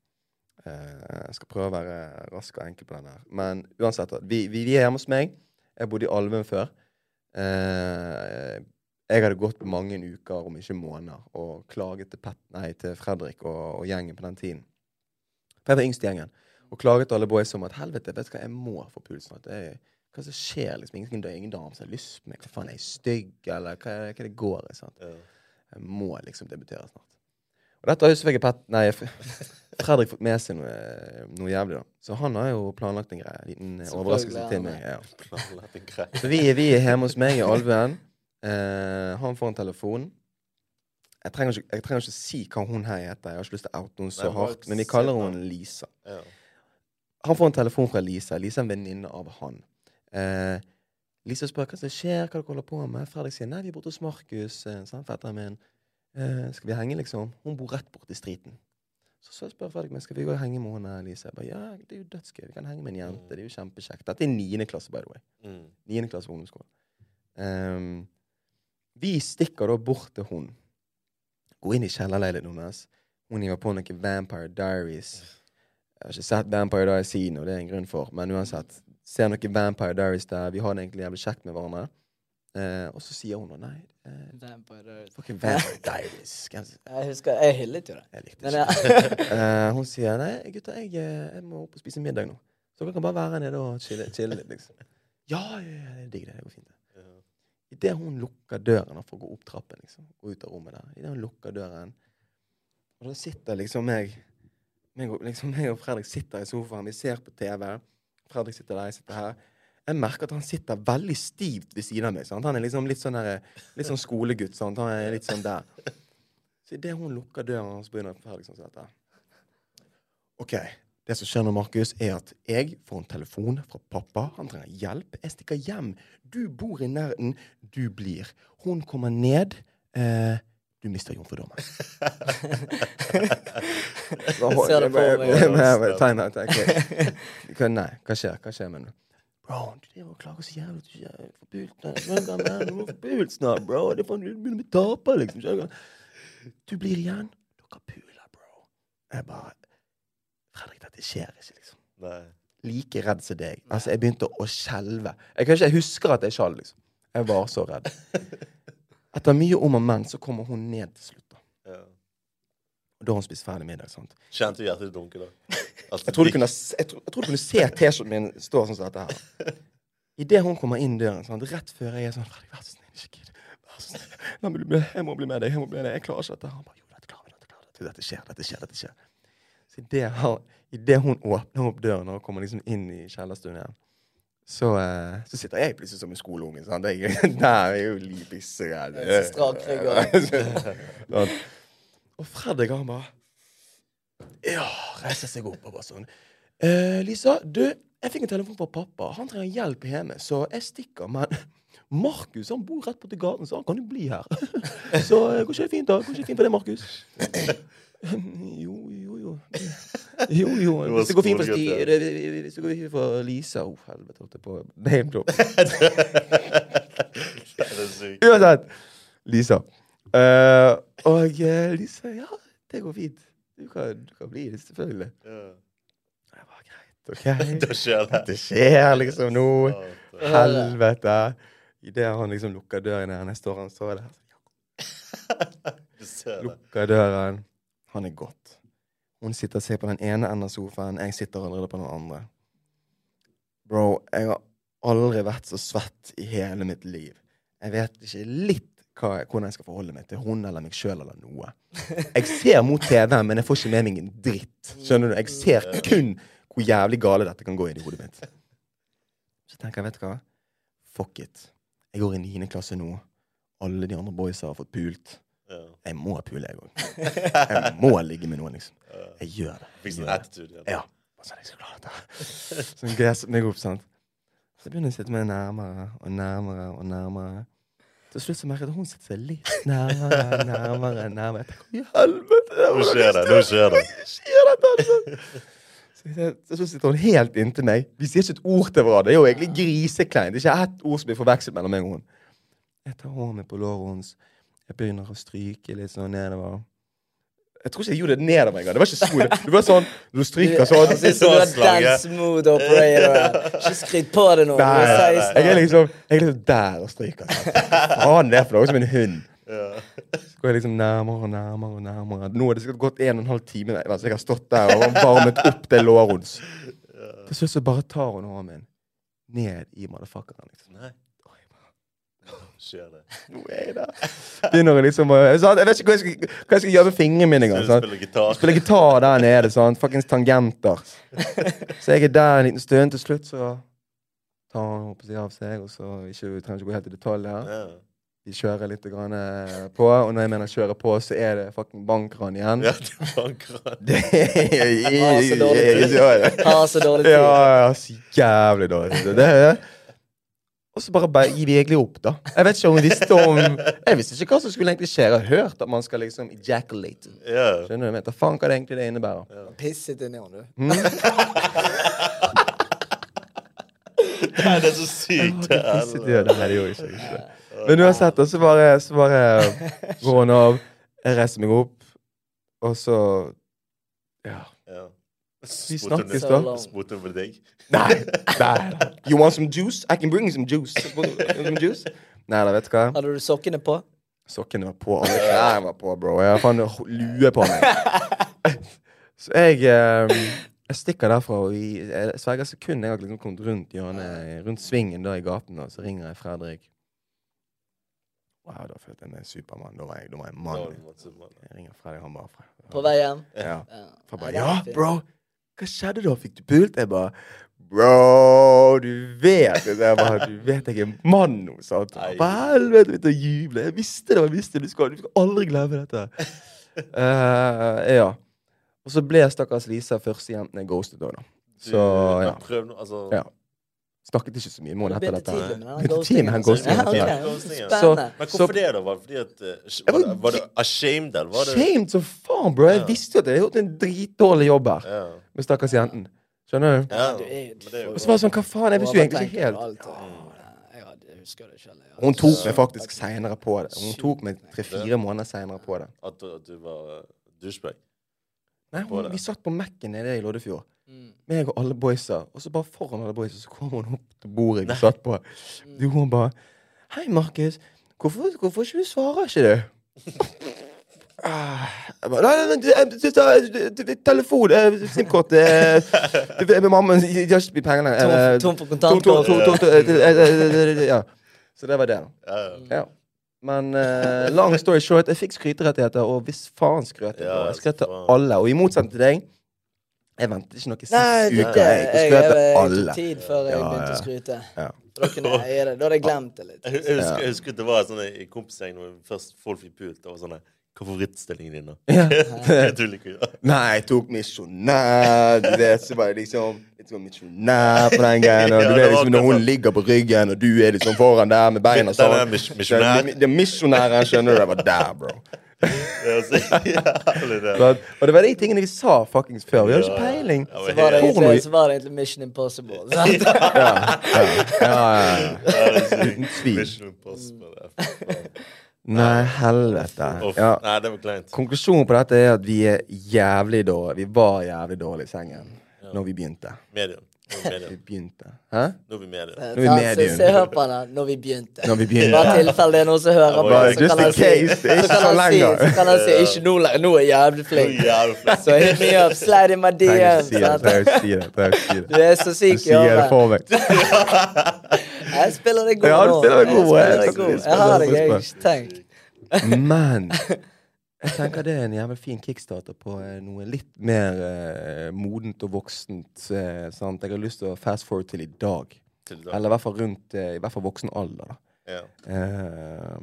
Eh, Jeg skal prøve å være rask og enkel på den her. Men uansett, vi, vi, vi er hjemme hos meg. Jeg bodde i Alvum før. Eh, Jeg hadde gått mange uker, om ikke måneder, og klaget til, Pet, nei, til Fredrik og, og gjengen på den tiden. For jeg var yngst i gjengen. Og klaget til alle boys om at helvete, vet du hva, jeg må få pulsen. At jeg, hva som skjer? liksom, Ingen, ingen dame som har lyst på meg. Hva faen, er jeg stygg, eller hva, er det- hva er det går i? sant?
Ja.
Jeg må liksom debutere snart. Og dette har jo selvfølgelig Pet... Nei, Fredrik fått med seg noe, noe jævlig, da. Så han har jo planlagt en greie. En liten eh, overraskelse til meg. Ja.
Planlagt en greie.
Så vi, vi er hjemme hos meg i Alvøen. Eh, han får en telefon. Jeg trenger, ikke, jeg trenger ikke si hva hun her heter, jeg har ikke lyst til å oute henne så
Nei, bare
hardt. Men vi
si
kaller
det.
henne Lisa.
Ja.
Han får en telefon fra Lisa. Lisa er en venninne av han. Eh, Lisa spør hva som skjer, hva dere holder på med. Fredrik sier nei, vi er borte hos Markus. eh, sant, fetteren min. Eh, skal vi henge, liksom? Hun bor rett borti striten. Så, så spør Fredrik meg skal vi gå og henge med henne, eh, Lisa. Jeg bare, ja, det er jo dødsgøy. Vi kan henge med en jente. Det er jo kjempekjekt. Dette er niende klasse, by the way.
Mm.
Niende klasse på ungdomsskolen. Um, vi stikker da bort til hun. Går inn i kjellerleiligheten hennes. Hun hiver på noen Vampire Diaries. Jeg har ikke sett Vampire Diaries siden, og det er en grunn for, men uansett. Ser noen Vampire Diaries der. Vi har det egentlig jævlig kjekt med hverandre. Eh, og så sier hun da nei. eh,
Vampire Diaries.
fucking Vampire Diaries. Hvem s-
Jeg husker, jeg hyllet jo det.
Jeg likte
Men
ikke.
ja.
Eh, hun sier nei, gutter, jeg, eh, jeg må opp og spise middag nå. Så dere kan bare være her nede og chille, chille litt, liksom. Ja, ja, ja, det er digg, det. Det går fint. det. Idet hun lukker døren da, for å gå opp trappen, liksom, gå ut av rommet der Idet hun lukker døren Og da sitter liksom meg meg og, liksom, meg og Fredrik sitter i sofaen, vi ser på TV. Fredrik sitter der, jeg sitter her. Jeg merker at han sitter veldig stivt ved siden av meg. Sant? Han er liksom litt sånn, der, litt sånn skolegutt. Sant? Han er litt sånn der. Så idet hun lukker døren, så begynner Fredrik sånn som dette. OK. Det som skjer nå, Markus, er at jeg får en telefon fra pappa. Han trenger hjelp. Jeg stikker hjem. Du bor i nærheten. Du blir. Hun kommer ned. Eh, du mister jomfrudommen.
Jeg ser det for meg.
Tegn her. Nei, hva skjer? Hva skjer med henne? Bro, du driver og klager så jævlig at du ikke er forpult. Nei, nå kan jeg- nå må jeg forpult snart, bro. Det er faen, du begynner å bli taper, liksom. Skjønner du? Du blir igjen. Dere puler, bro. Jeg bare Fredrik, dette skjer ikke, liksom
Nei.
like redd som deg. Altså, jeg begynte å skjelve. Jeg, kan ikke, jeg husker at jeg skjalv, liksom. Jeg var så redd. Etter mye om og men, så kommer hun ned til slutt. da.
Ja.
Og da har hun spist ferdig middag. sant?
Kjente du hjertet dunke da? At
Jeg tror du
gikk-
kunne, s- jeg tror, jeg tror du kunne se T-skjorten min stå sånn som dette her. Idet hun kommer inn døren, sånn, rett før jeg er sånn Fredrik, vær så snill, ikke gidd. Vær så snill. La meg bli med. Jeg må bli med deg. Jeg må bli med deg. Jeg klarer ikke dette. Han bare, jo, dette klarer vi. Dette klarer vi. Dette- Dette skjer. Dette skjer. Dette skjer. Så idet han- idet hun åpner opp døren og kommer liksom inn i kjellerstuen igjen, så, eh, så sitter jeg plutselig som en skoleunge. sant? Jeg, der er jo livbisseredd.
Så strak rygg og-
Sånn. Og Fredrik, han bare Ja, reiser seg opp og bare sånn Eh, Lisa, du, jeg fikk en telefon fra pappa. Han trenger hjelp hjemme, så jeg stikker. Men Markus han bor rett borti gaten, så han kan jo bli her. Så eh, går ikke det fint, da? Går ikke det fint for deg, Markus? Jo, jo, jo. Jo, jo.
Det var
Hvis det går fint for, Sti,
skolegutt,
hvis det går fint for Lisa Å, helvete, holdt jeg på name-drop.
Nei, det er sykt.
Uansett. Lisa. Eh, og eh, Lisa, ja, det går fint. Du kan, du kan bli det, selvfølgelig.
Ja.
Jeg bare, greit,
Da
ok.
skjer det.
Det skjer liksom nå.
Satan.
Helvete. Idet han liksom lukker døren igjen, jeg står han står der.
Du ser det.
Lukker døren. Han er godt. Hun sitter og ser på den ene enden av sofaen, jeg sitter allerede på den andre. Bro, jeg har aldri vært så svett i hele mitt liv. Jeg vet ikke litt hva, hvordan jeg skal forholde meg til hun eller meg sjøl eller noe. Jeg ser mot TV-en, men jeg får ikke med meg en dritt. Skjønner du? Jeg ser kun hvor jævlig gale dette kan gå inn i hodet mitt. Så tenker jeg, vet du hva? Fuck it. Jeg går i niende klasse nå. Alle de andre boysa har fått pult.
Ja.
Jeg må pule, jeg òg. Jeg må ligge med noen, liksom. Jeg gjør det. Jeg
Fikk sånn
gjør det.
attitude igjen.
Ja. Bare Sånn, jeg skal klare dette. Sånn gresset meg opp, sant. Så jeg begynner jeg å sitte meg nærmere og nærmere og nærmere. Til slutt så merker jeg at hun sitter seg litt nærmere, nærmere, nærmere. Jeg tenker, i helvete! det var
Nå
det
skjer det.
største
Nå skjer det.
skjer dette? Altså? Så jeg- Så sitter hun helt inntil meg. Vi sier ikke et ord til hverandre. Det er jo egentlig grisekleint. Det er ikke ett ord som blir forvekslet mellom meg og hun. Jeg tar hånden på låret hennes. Jeg begynner å stryke litt sånn nedover. Jeg tror ikke jeg gjorde det nedover engang. Det var ikke skole. Det var sånn, Når du stryker
Jeg
sånn
synes du er
Slagge.
dance mood operator. Ikke skryt på det nå. Du er
Nei,
16.
jeg er liksom, jeg er liksom der og stryker. sant? Faen, det er for noe som en hund. Så går jeg liksom nærmere og nærmere. og nærmere. Nå har det sikkert gått en og en halv time. der, Altså, jeg har stått der og varmet opp det låret hennes. Til slutt så bare tar hun hånden min ned i motherfuckeren. liksom.
Nei. Nå skjer det.
Nå er jeg der. Begynner jeg liksom å sant? Jeg vet ikke hva jeg skal, hva jeg skal gjøre med fingrene mine engang.
Du
sant?
spiller gitar.
Spiller gitar der nede. sant? Fuckings tangenter. Så jeg er der en liten stund. Til slutt så tar hun opp og sier av seg, og så ikke, vi trenger ikke gå helt i detalj her.
Ja.
Vi kjører litt grann eh, på, og når jeg mener kjører på, så er det fucking bankran igjen.
Ja, du banker
Det
Ah, så dårlig tid. Har så dårlig tid.
Ja, ja, så jævlig dårlig. tid. Det er det. Og så bare, bare gir vi egentlig opp, da. Jeg vet ikke om vi visste om Jeg visste ikke hva som skulle egentlig skje. Jeg har hørt at man skal liksom ejaculate.
Ja.
Skjønner du? Men da faen hva det egentlig det innebærer.
Pisset inni henne, du.
Nei, det er så sykt. det er
Disse døde, nei, det gjorde jeg ikke. ikke. Men uansett, da, så bare, så bare går han av. Jeg reiser meg opp, og så Ja.
Ja.
Vi snakkes,
Så
da.
langt.
Spurte hun på deg?
Nei, nei. You want some juice? I can bring you some juice. Want Some juice? Nei da, vet du hva.
Hadde du sokkene på?
Sokkene var på, alle klærne var på, bro. Jeg har faen lue på meg. Så jeg eh, Jeg stikker derfra, og i jeg sverger sekund jeg har liksom kommet rundt hjørnet, rundt svingen da i gaten, og så ringer jeg Fredrik. Wow, da følte jeg meg Supermann. Da var jeg, da var jeg mann.
Oh,
Jeg ringer Fredrik, han bare fra-
På vei hjem?
Ja. For jeg
Nei,
bare,
det er
ja,
fint.
bro, hva skjedde da? Fikk du pult? Jeg bare, bro, du vet. det." Jeg bare, du vet jeg er mann nå, sant?
Nei.
Jeg bare, helvete, begynte å juble. Jeg visste det, jeg visste det. Du skal, du skal aldri glemme dette. Eh, ja. Og så ble stakkars Lisa første jenten jeg ghostet da, da. Så, ja.
Prøv nå, altså
Ja. Snakket ikke så mye med henne etter
Begynte
dette.
tidlig.
tidlig med
Begynte
den altså.
tidlig med den ghostingen,
Ja,
ja.
ok.
Ghostingen.
Spennende.
Men
Så-
hvorfor det, da? Var det fordi at eh,
Jeg
Var
var
det, var det ashamed, eller var det
Shamed som faen, bro. Jeg
Ja.
visste jo at jeg hadde gjort en dritdårlig jobb her
Ja.
med stakkars jenten. Skjønner du?
ja.
Du er jo-
men det er jo-
Og så var det sånn, hva faen? Jeg visste jo egentlig ikke helt.
Jeg husker det selv. jeg.
Hun tok meg faktisk senere på det. Hun tok meg tre-fire måneder senere på det.
At du, at du var eh, douchebag.
Nei,
På
hun,
det.
Vi satt på Mac-en nede i Loddefjord,
Mm.
meg og alle boysa. Og så bare foran alle boysa, så kom hun opp til bordet vi satt på. Du, hun bare 'Hei, Markus. Hvorfor, hvorfor ikke du svarer ikke du?' Ah, Jeg bare, nei, nei, nei, du- du- du- du- du- telefon, eh, SIM-kort eh, du- du- Mamma jeg har ikke penger lenger. eh,
Tom- Tom for
tom- tom- tom-
kontanter.
tom- eh, eh, eh, eh, Ja. Så det var det. da.
Ja, ja.
Ja. Men eh, long story short, jeg fikk skryterettigheter, og hvis faen skrøt jeg på.
Ja,
Jeg skrøt til
faen.
alle. Og i motsetning til deg, jeg ventet ikke noe seks
Nei, det
uker.
er det.
Jeg,
Jeg,
jeg skrøt
jeg,
til
jeg
alle.
tok tid før jeg
Ja,
begynte å
ja.
skryte.
Ja.
Da kunne jeg gjøre det. Da hadde jeg glemt det litt.
Jeg hu- jeg husker, jeg husker det var sånn i kompisgjengen når vi først folk fikk pult. Det var sånn eh, Hva er favorittstillingen din, da? Jeg tuller ikke. ja.
Nei, jeg tok misjonær. du vet, Så bare liksom litt sånn misjonær på den greien. Og
Ja,
du
det
vet
var
liksom når
akkurat
hun
sånn.
ligger på ryggen, og du er liksom foran der med beina
Den
sånn.
der mis- misjonær.
Den- Den misjonæren, skjønner du, jeg var der, bro.
Det er så jævlig, det.
Så at- Og det var de tingene jeg sa fuckings før. Vi har ikke peiling.
Ja,
Så
men
var det
helt-
egentlig, så var det egentlig Mission Impossible. sant?
Ja, ja, ja, ja.
Ja, det er så-
Uten tvil.
Mission Impossible. det er faen.
Nei, helvete.
Uff.
Ja.
Nei, det var kleint.
Konklusjonen på dette er at vi er jævlig dårlige. Vi var jævlig dårlige i sengen når vi begynte.
Medium. Nå er vi
Vi
medium.
begynte. Hæ?
Nå er vi medium.
er vi
Så-
medium.
så- så hør på henne når vi begynte.
Når vi
Bare
begynte.
tilfelle det er noen som hører
Ja,
på.
bare-
Så
just
kan
in
han si,
case, det er
så
ikke
kan
så
han si,
lenger.
så kan han si ikke nå lenger. Nå er jeg jævlig
Nå
flink.
er vi jævlig flink.
Så hit me up, slide in my
Trenger
DM.
ikke si det.
sant?
Trenger ikke si det. Trenger ikke si
Du
det.
er så
Du
syk i
sier det
hodet.
for meg.
Jeg spiller deg god
Ja, du
nå.
spiller deg god,
Jeg spiller deg
jeg skal-
god.
jeg
Jeg har
spiller
deg, jeg
deg
har ikke tenkt.
Men jeg tenker det er en jævlig fin kickstarter på eh, noe litt mer eh, modent og voksent. Eh, sant? Jeg har lyst til å fast forward til i dag.
Til i dag.
Eller i hvert fall rundt eh, i hvert fall voksen alder. da.
Ja.
Eh,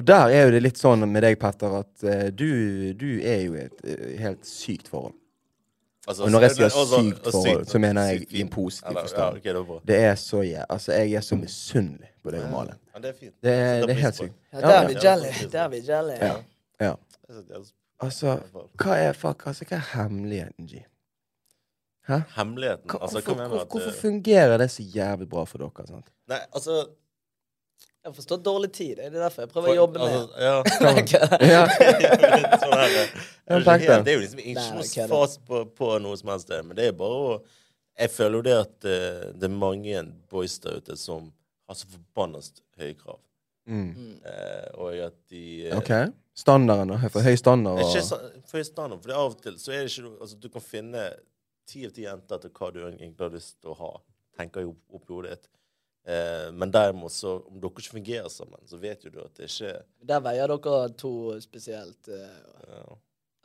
og der er jo det litt sånn med deg, Petter, at eh, du, du er jo i et eh, helt sykt forhold.
Altså,
Og når jeg
så-
sier
altså,
sykt
og
forhold, så mener jeg
sykt
i en
fint.
positiv
Eller,
forstand.
Ja, ok, det var bra.
Det er så jæ... Altså, jeg er så misunnelig på deg og Malin.
Ja, det er fint.
Det, er-
Jeg setter
det er helt
pris på
sykt.
Ja, der er vi
ja.
jelly. Der er vi jelly.
Ja. ja.
Jeg setter jævlig-
Altså, hva er, fuck, altså, hva er hemmeligheten, G?
Hemmeligheten
Hva,
altså,
hvorfor,
hva mener du
hvor,
at
hvorfor
det-
fungerer det så jævlig bra for dere? sant?
Nei, altså
Jeg forstår dårlig tid. Det er derfor jeg prøver å jobbe med
Altså, ja.
det.
Ja.
sånn her,
Ja,
jeg
takk
skjønner,
da.
det er jo liksom ikke
Nei,
noe
ok da.
fast på, på noe som helst, det, men det er bare å Jeg føler jo det at eh, det er mange boys der ute som har så forbanna høye krav.
Mm.
Eh, og at de eh,
OK. Standarden, da? For høy standard
Ikke
og
sånn- for i standard, for det er av og til så er det ikke noe- altså, Du kan finne ti av ti jenter til hva du egentlig har lyst til å ha, tenker jo opp i hodet ditt. Eh, men derimot, så om dere ikke fungerer sammen, så vet jo du at det ikke
Der veier dere to spesielt. eh,
eh,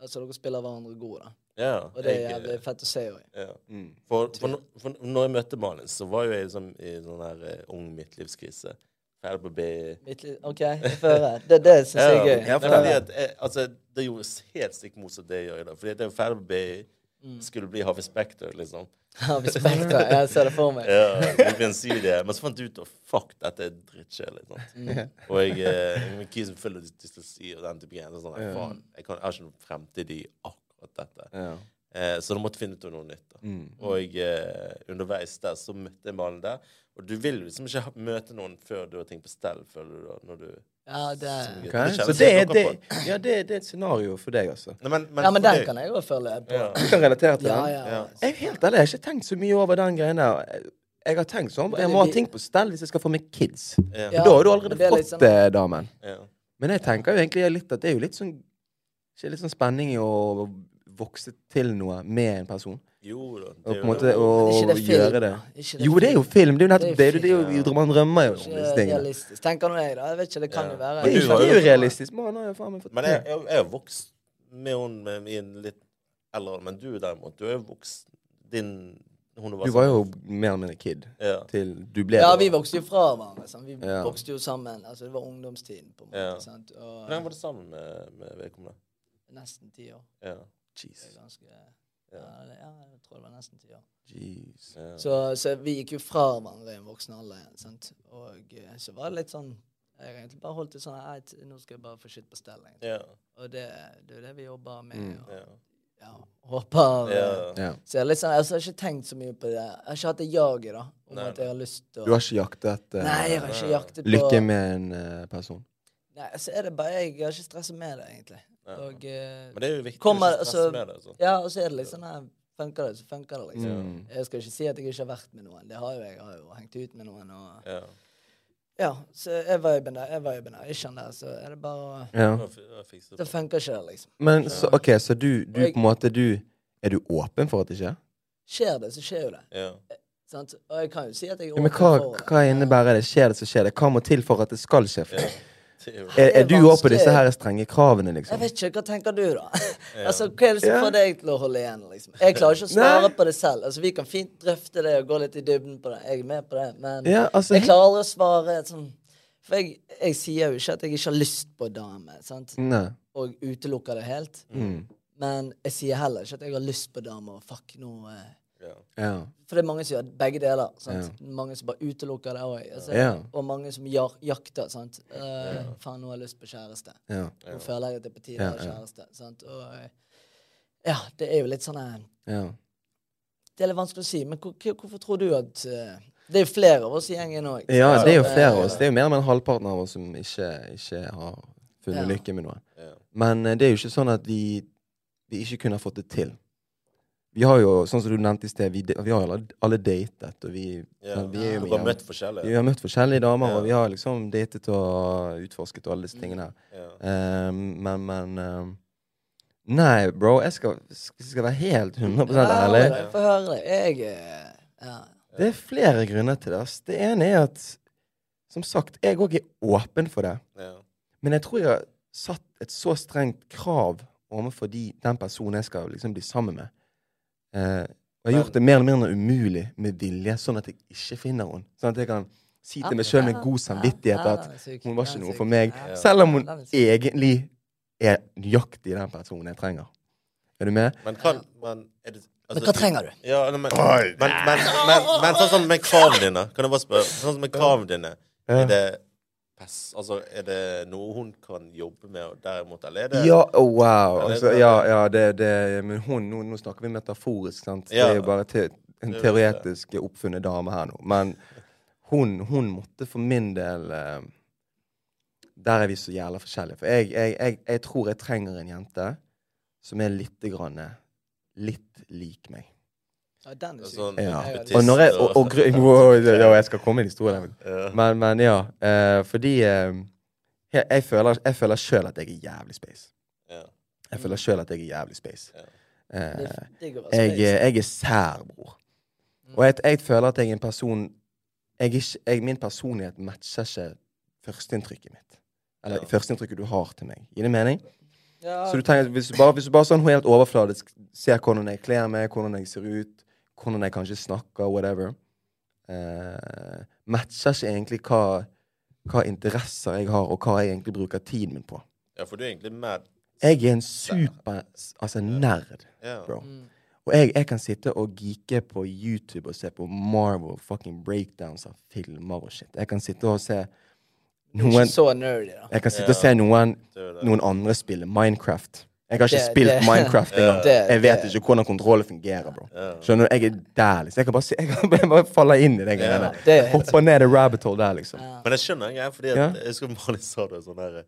Altså, dere spiller hverandre gode, da.
Ja.
Og det er
jeg, eh,
jævlig fett å se òg.
ja.
Mm.
For, for, no- for når jeg møtte Malin, så var jo jeg liksom i sånn her eh, ung midtlivskrise. Ferdig på BI.
Mitt liv- OK, jeg får høre. Det, det syns jeg er gøy.
Ja,
Få
for fordi
høre.
at, jeg, altså, det gjorde helt stikk motsatt det jeg gjør i dag. Fordi at jeg var ferdig på
Mm.
BI, skulle bli Harvey Spector, liksom.
Ja, Respekt. da. Jeg ser det for meg.
Ja, det blir en studie. Men så fant jeg ut at fuck, dette er drittkjedelig. sant?
Mm.
Og jeg, eh, jeg med kisen full av dyslexi og den type greier. så Sånn, nei, faen, jeg, kan, jeg har ikke noen fremtid i akkurat dette.
Ja.
Eh, Eh, så du måtte finne ut noe nytt. da.
Mm.
Og eh, underveis der så møtte jeg mannen der. Og du vil liksom ikke ha- møte noen før du har ting på stell, føler du da, når du
Ja, det...
som gutt.
Ok,
Det kjennes
Så det er,
helt ok
det,
på.
ja, det, det er et scenario for deg, altså.
Nei, men, men
ja, men
for
den
deg-
kan jeg òg føle på.
Ja.
Du kan relatere til
Ja,
den?
ja.
Ja.
Jeg er helt ærlig, jeg har ikke tenkt så mye over den greia der. Jeg- Jeg har tenkt sånn, jeg må ha ting på stell hvis jeg skal få meg kids.
Ja.
Ja.
Da har du
men
allerede
det er litt
fått
sånn-
det, damen.
Ja.
Men jeg tenker jo egentlig litt at det er jo litt sånn Ikke litt sånn spenning i å vokse til noe med en person.
Jo da. det
Og
er
på
jo
en måte
det.
Ikke
å
det film,
gjøre det.
da. Ikke
Jo, det er jo film. Det er jo nettopp
Det er
det. det er jo,
film, ja.
man drømmer jo om
Ikke
disse tingene.
realistisk. Tenker nå jeg, da. Jeg vet ikke, det kan
Ja.
jo være
Det er
Men du
jo,
var
det er
jo-
jo realistisk. Man har jo faen meg fått
Men jeg, jeg, jeg har vokst med henne med- i en litt eldre alder, men du derimot, du er jo vokst din Hun du var
Du var jo mer eller mindre kid
Ja.
til du ble
Ja,
det.
vi vokste jo fra hverandre. Sant? Vi
Ja.
vokste jo sammen. Altså, det var ungdomstiden, på en måte.
Ja.
Sant?
Hvor lenge
Og
var du sammen med, med vedkommende?
nesten ti år.
Ja.
Det er
Jeez.
ganske
Ja.
ja, det- ja, jeg tror det var nesten ti år.
Jeez.
Ja.
Så, så vi gikk jo fra hverandre i en voksen alder igjen, sant. Og eh, så var det litt sånn Jeg har egentlig bare holdt det sånn «Nei, t- Nå skal jeg bare få shit på stell. egentlig».
ja.
Og det, det er jo det vi jobber med.
Mm.
Og,
ja.
ja, håper
ja.
eh,
Ja.
Så jeg, er litt sånn, altså, jeg har ikke tenkt så mye på det. Jeg har ikke hatt det jaget da, om
Nei,
at jeg har lyst til å
Du har ikke jaktet eh,
Nei, jeg har ikke jaktet på
lykke med en eh, person?
Nei, altså er det bare jeg har ikke stressa med det, egentlig.
Ja.
Og eh,
Men det er jo viktig
Kommer,
å ikke stresse
altså-
med det. Altså.
Ja, og så er det litt sånn her Funker det, så funker det, liksom.
Mm.
Jeg skal ikke si at jeg ikke har vært med noen. Det har jo jeg. Jeg har jo hengt ut med noen. Og,
Ja.
ja, så er viben der. Er viben der. Ikke han der, så er det bare å
Ja.
Nå fi- nå fikser
Det
jeg det.
funker ikke, det, liksom.
Men så, OK, så du, du
Jeg-
på en måte du, Er du åpen for at det skjer?
Skjer det, så skjer jo det.
Ja.
Sant? Og jeg kan jo si at jeg er
Ja, men
åpen
hva,
for det.
hva innebærer det? Skjer det, så skjer det. Hva må til for at det skal skje?
Ja. Det er jo-
Er, er du òg på
vanskelig.
disse her strenge kravene,
Jeg
liksom?
vet ikke, hva tenker du da?
Ja.
altså, Hva er det som
Ja.
får deg til å holde igjen? liksom? Jeg klarer ikke å svare
Nei.
på det selv. Altså, Vi kan fint drøfte det og gå litt i dybden på det. Jeg er med på det, men
Ja, altså,
jeg klarer aldri å svare et sånn For jeg, jeg sier jo ikke at jeg ikke har lyst på dame, sant?
Nei.
og utelukker det helt.
Mm.
Men jeg sier heller ikke at jeg har lyst på dame og fuck nå eh.
Ja.
Ja.
For det er mange som gjør begge deler. sant? Mange som bare utelukker det òg. Altså,
Ja.
Og mange som ja- jakter. sant? Eh, Faen, nå har jeg lyst på kjæreste.
Ja.
Nå føler jeg at det er på tide
Ja,
å ha
ja.
kjæreste. Sant? Og eh, ja, det er jo litt sånn eh,
ja.
Det er litt vanskelig å si, men hvor, hvor- hvorfor tror du at eh, Det er jo flere av oss i gjengen òg.
ja, det er jo
eh,
flere av oss. Det er jo mer enn halvparten av oss som ikke, ikke har funnet
Ja.
lykke med noe.
Ja.
Men eh, det er jo ikke sånn at vi, vi ikke kunne ha fått det til. Vi har jo, sånn som du nevnte i sted, vi, de- vi har jo alle- alle datet, og vi,
Ja.
vi er jo
Du har
mye-
møtt forskjellige.
vi har møtt forskjellige damer,
Ja.
og vi har liksom datet og utforsket og alle disse tingene her.
Ja.
Eh, men, men eh, Nei, bro, jeg skal, skal, skal være helt 100
Ærlig.
ærlig.
Få høre det. Jeg eh, ja.
Det er flere grunner til det. ass. Det ene er at, som sagt, jeg òg er åpen for det.
Ja.
Men jeg tror jeg har satt et så strengt krav overfor de, den personen jeg skal liksom bli sammen med. Eh, og jeg har
Men-
gjort det mer eller mindre umulig med vilje, sånn at jeg ikke finner henne. Sånn at jeg kan si til meg sjøl med god samvittighet at hun var ikke noe for meg.
Ja.
Selv om hun
Den er syk.
egentlig er nøyaktig den personen jeg trenger. Er du med?
Men kan men, er det, altså,
Men hva trenger du?
Ja, nei, men, men, men, men, men, sånn som med kravene dine Kan jeg bare spørre? Sånn som med kravene dine
Eh,
Er det pass, altså, er det noe hun kan jobbe med, og derimot Eller er det
Ja, oh, wow.
det-
Altså, ja, ja, det, det Men hun, nå, nå snakker vi metaforisk, sant? Det
Ja.
er jo bare te, en
Det er
teoretisk oppfunnet dame her nå. Men hun, hun måtte for min del eh, Der er vi så jævla forskjellige. For jeg, jeg, jeg, jeg tror jeg trenger en jente som er lite grann eh, litt lik meg.
Ja, den er syk.
Sånn,
Ja.
autist
Og når jeg, og, og, gru- wow, ja, jeg skal komme med en historie. der.
Ja.
Men, men ja, eh, fordi eh, jeg, jeg føler, jeg føler sjøl at jeg er jævlig space.
Ja.
Jeg føler sjøl at jeg er jævlig space.
Ja.
Eh,
Det er digg å være
jeg, eh,
space.
jeg er sær, bror. Og jeg, jeg føler at jeg er en person jeg er ikke, jeg, Min personlighet matcher ikke førsteinntrykket mitt. Eller
Ja.
førsteinntrykket du har til meg. Gir det mening?
Ja,
Så du tenker, hvis du bare, hvis du bare sånn helt overfladisk ser hvordan jeg kler meg, hvordan jeg ser ut, hvordan jeg kanskje snakker, whatever eh, Matcher ikke egentlig hva, hva interesser jeg har, og hva jeg egentlig bruker tiden min på.
ja, for du er egentlig mad.
Jeg er en super Altså nerd,
Ja.
bro.
Mm.
Og jeg, jeg kan sitte og geeke på YouTube og se på Marvel fucking breakdowns av filmer og shit. Jeg kan sitte og se
Ikke
noen
så nerdy, da.
Jeg kan sitte og se noen,
Det er jo det.
noen andre spille Minecraft. Jeg har ikke
Det-
spilt
det-
Minecraft engang.
det-
Jeg vet
det-
ikke hvordan kontrollen fungerer, bro.
Ja.
Skjønner du? Jeg er der, liksom. Jeg kan bare, se- jeg kan bare- bare falle inn i den greia der.
det er helt-
Hopper ned i rabbit hole der, liksom.
Men jeg skjønner en greie, fordi at,
Ja.
jeg husker Malin sa det sånn her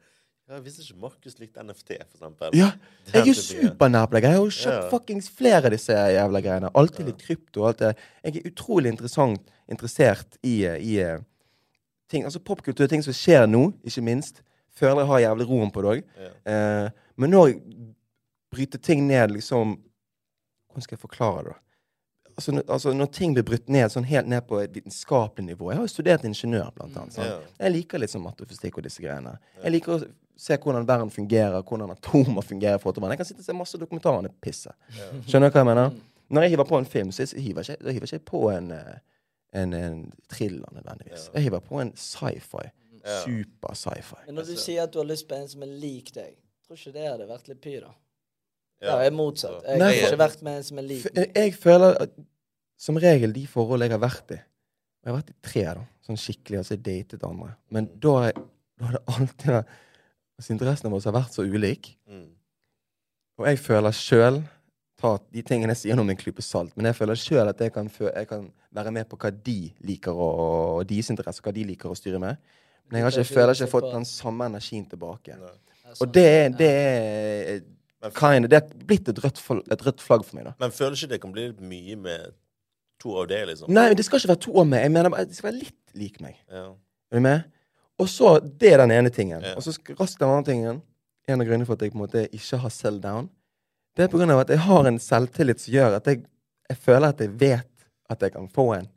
ja, Jeg visste ikke Markus likte NFT, for eksempel.
Ja! Jeg er jo
Den typen greie.
supernær på det. Jeg har jo kjøpt
Ja.
fuckings flere av disse jævla greiene. Alltid litt krypto og alt det. Jeg er utrolig interessant, interessert i, i eh, ting, altså popkultur, ting som skjer nå, ikke minst. Føler jeg har jævlig roen på det òg. Eh, men når jeg bryter ting ned, liksom Hvordan skal jeg forklare det, da? Altså, når, altså, når ting blir brutt ned sånn helt ned på et vitenskapelig nivå Jeg har jo studert ingeniør, blant annet. Sant?
Ja.
Jeg liker litt sånn matte og fysikk og disse greiene. Jeg liker å se hvordan verden fungerer, hvordan atomer fungerer. i forhold til hverandre. Jeg kan sitte og se masse dokumentarer om det pisset. Skjønner du hva jeg mener? Når jeg hiver på en film, så hiver jeg ikke, da hiver jeg ikke på en, eh, en, en thriller nødvendigvis. Jeg hiver på en sci-fi. Super sci-fi.
Men når du sier at du har lyst på en som er lik deg, tror ikke det hadde vært litt py, da?
Ja.
Ja, jeg er motsatt. Jeg
Nei,
har
for-
ikke vært med en som er lik
F- eh,
meg.
Jeg føler at som regel de forhold jeg har vært i og Jeg har vært i tre, da. Sånn skikkelig. Altså jeg datet andre. Men da har jeg- da har det alltid vært altså, Interessen vår har vært så ulik.
Mm.
Og jeg føler sjøl Ta de tingene jeg sier nå med en klype salt, men jeg føler sjøl at jeg kan, fø- jeg kan være med på hva de liker, å- og deres interesser, hva de liker å styre med. Men jeg har ikke, jeg føler ikke jeg har fått den samme energien tilbake.
Nei.
sånn.
Og det, er- det er kinda- Det er blitt et rødt, fol- et rødt flagg for meg, da.
Men føler ikke det kan bli litt mye med to av det, liksom?
Nei, men det skal ikke være to år med. Jeg mener bare, Det skal være litt lik meg.
Ja.
Er du med? Og så, Det er den ene tingen.
Ja.
Og så sk- raskt den andre tingen. En av grunnene for at jeg på en måte ikke har sell down, det er på grunn av at jeg har en selvtillit som gjør at jeg, jeg føler at jeg vet at jeg kan få en.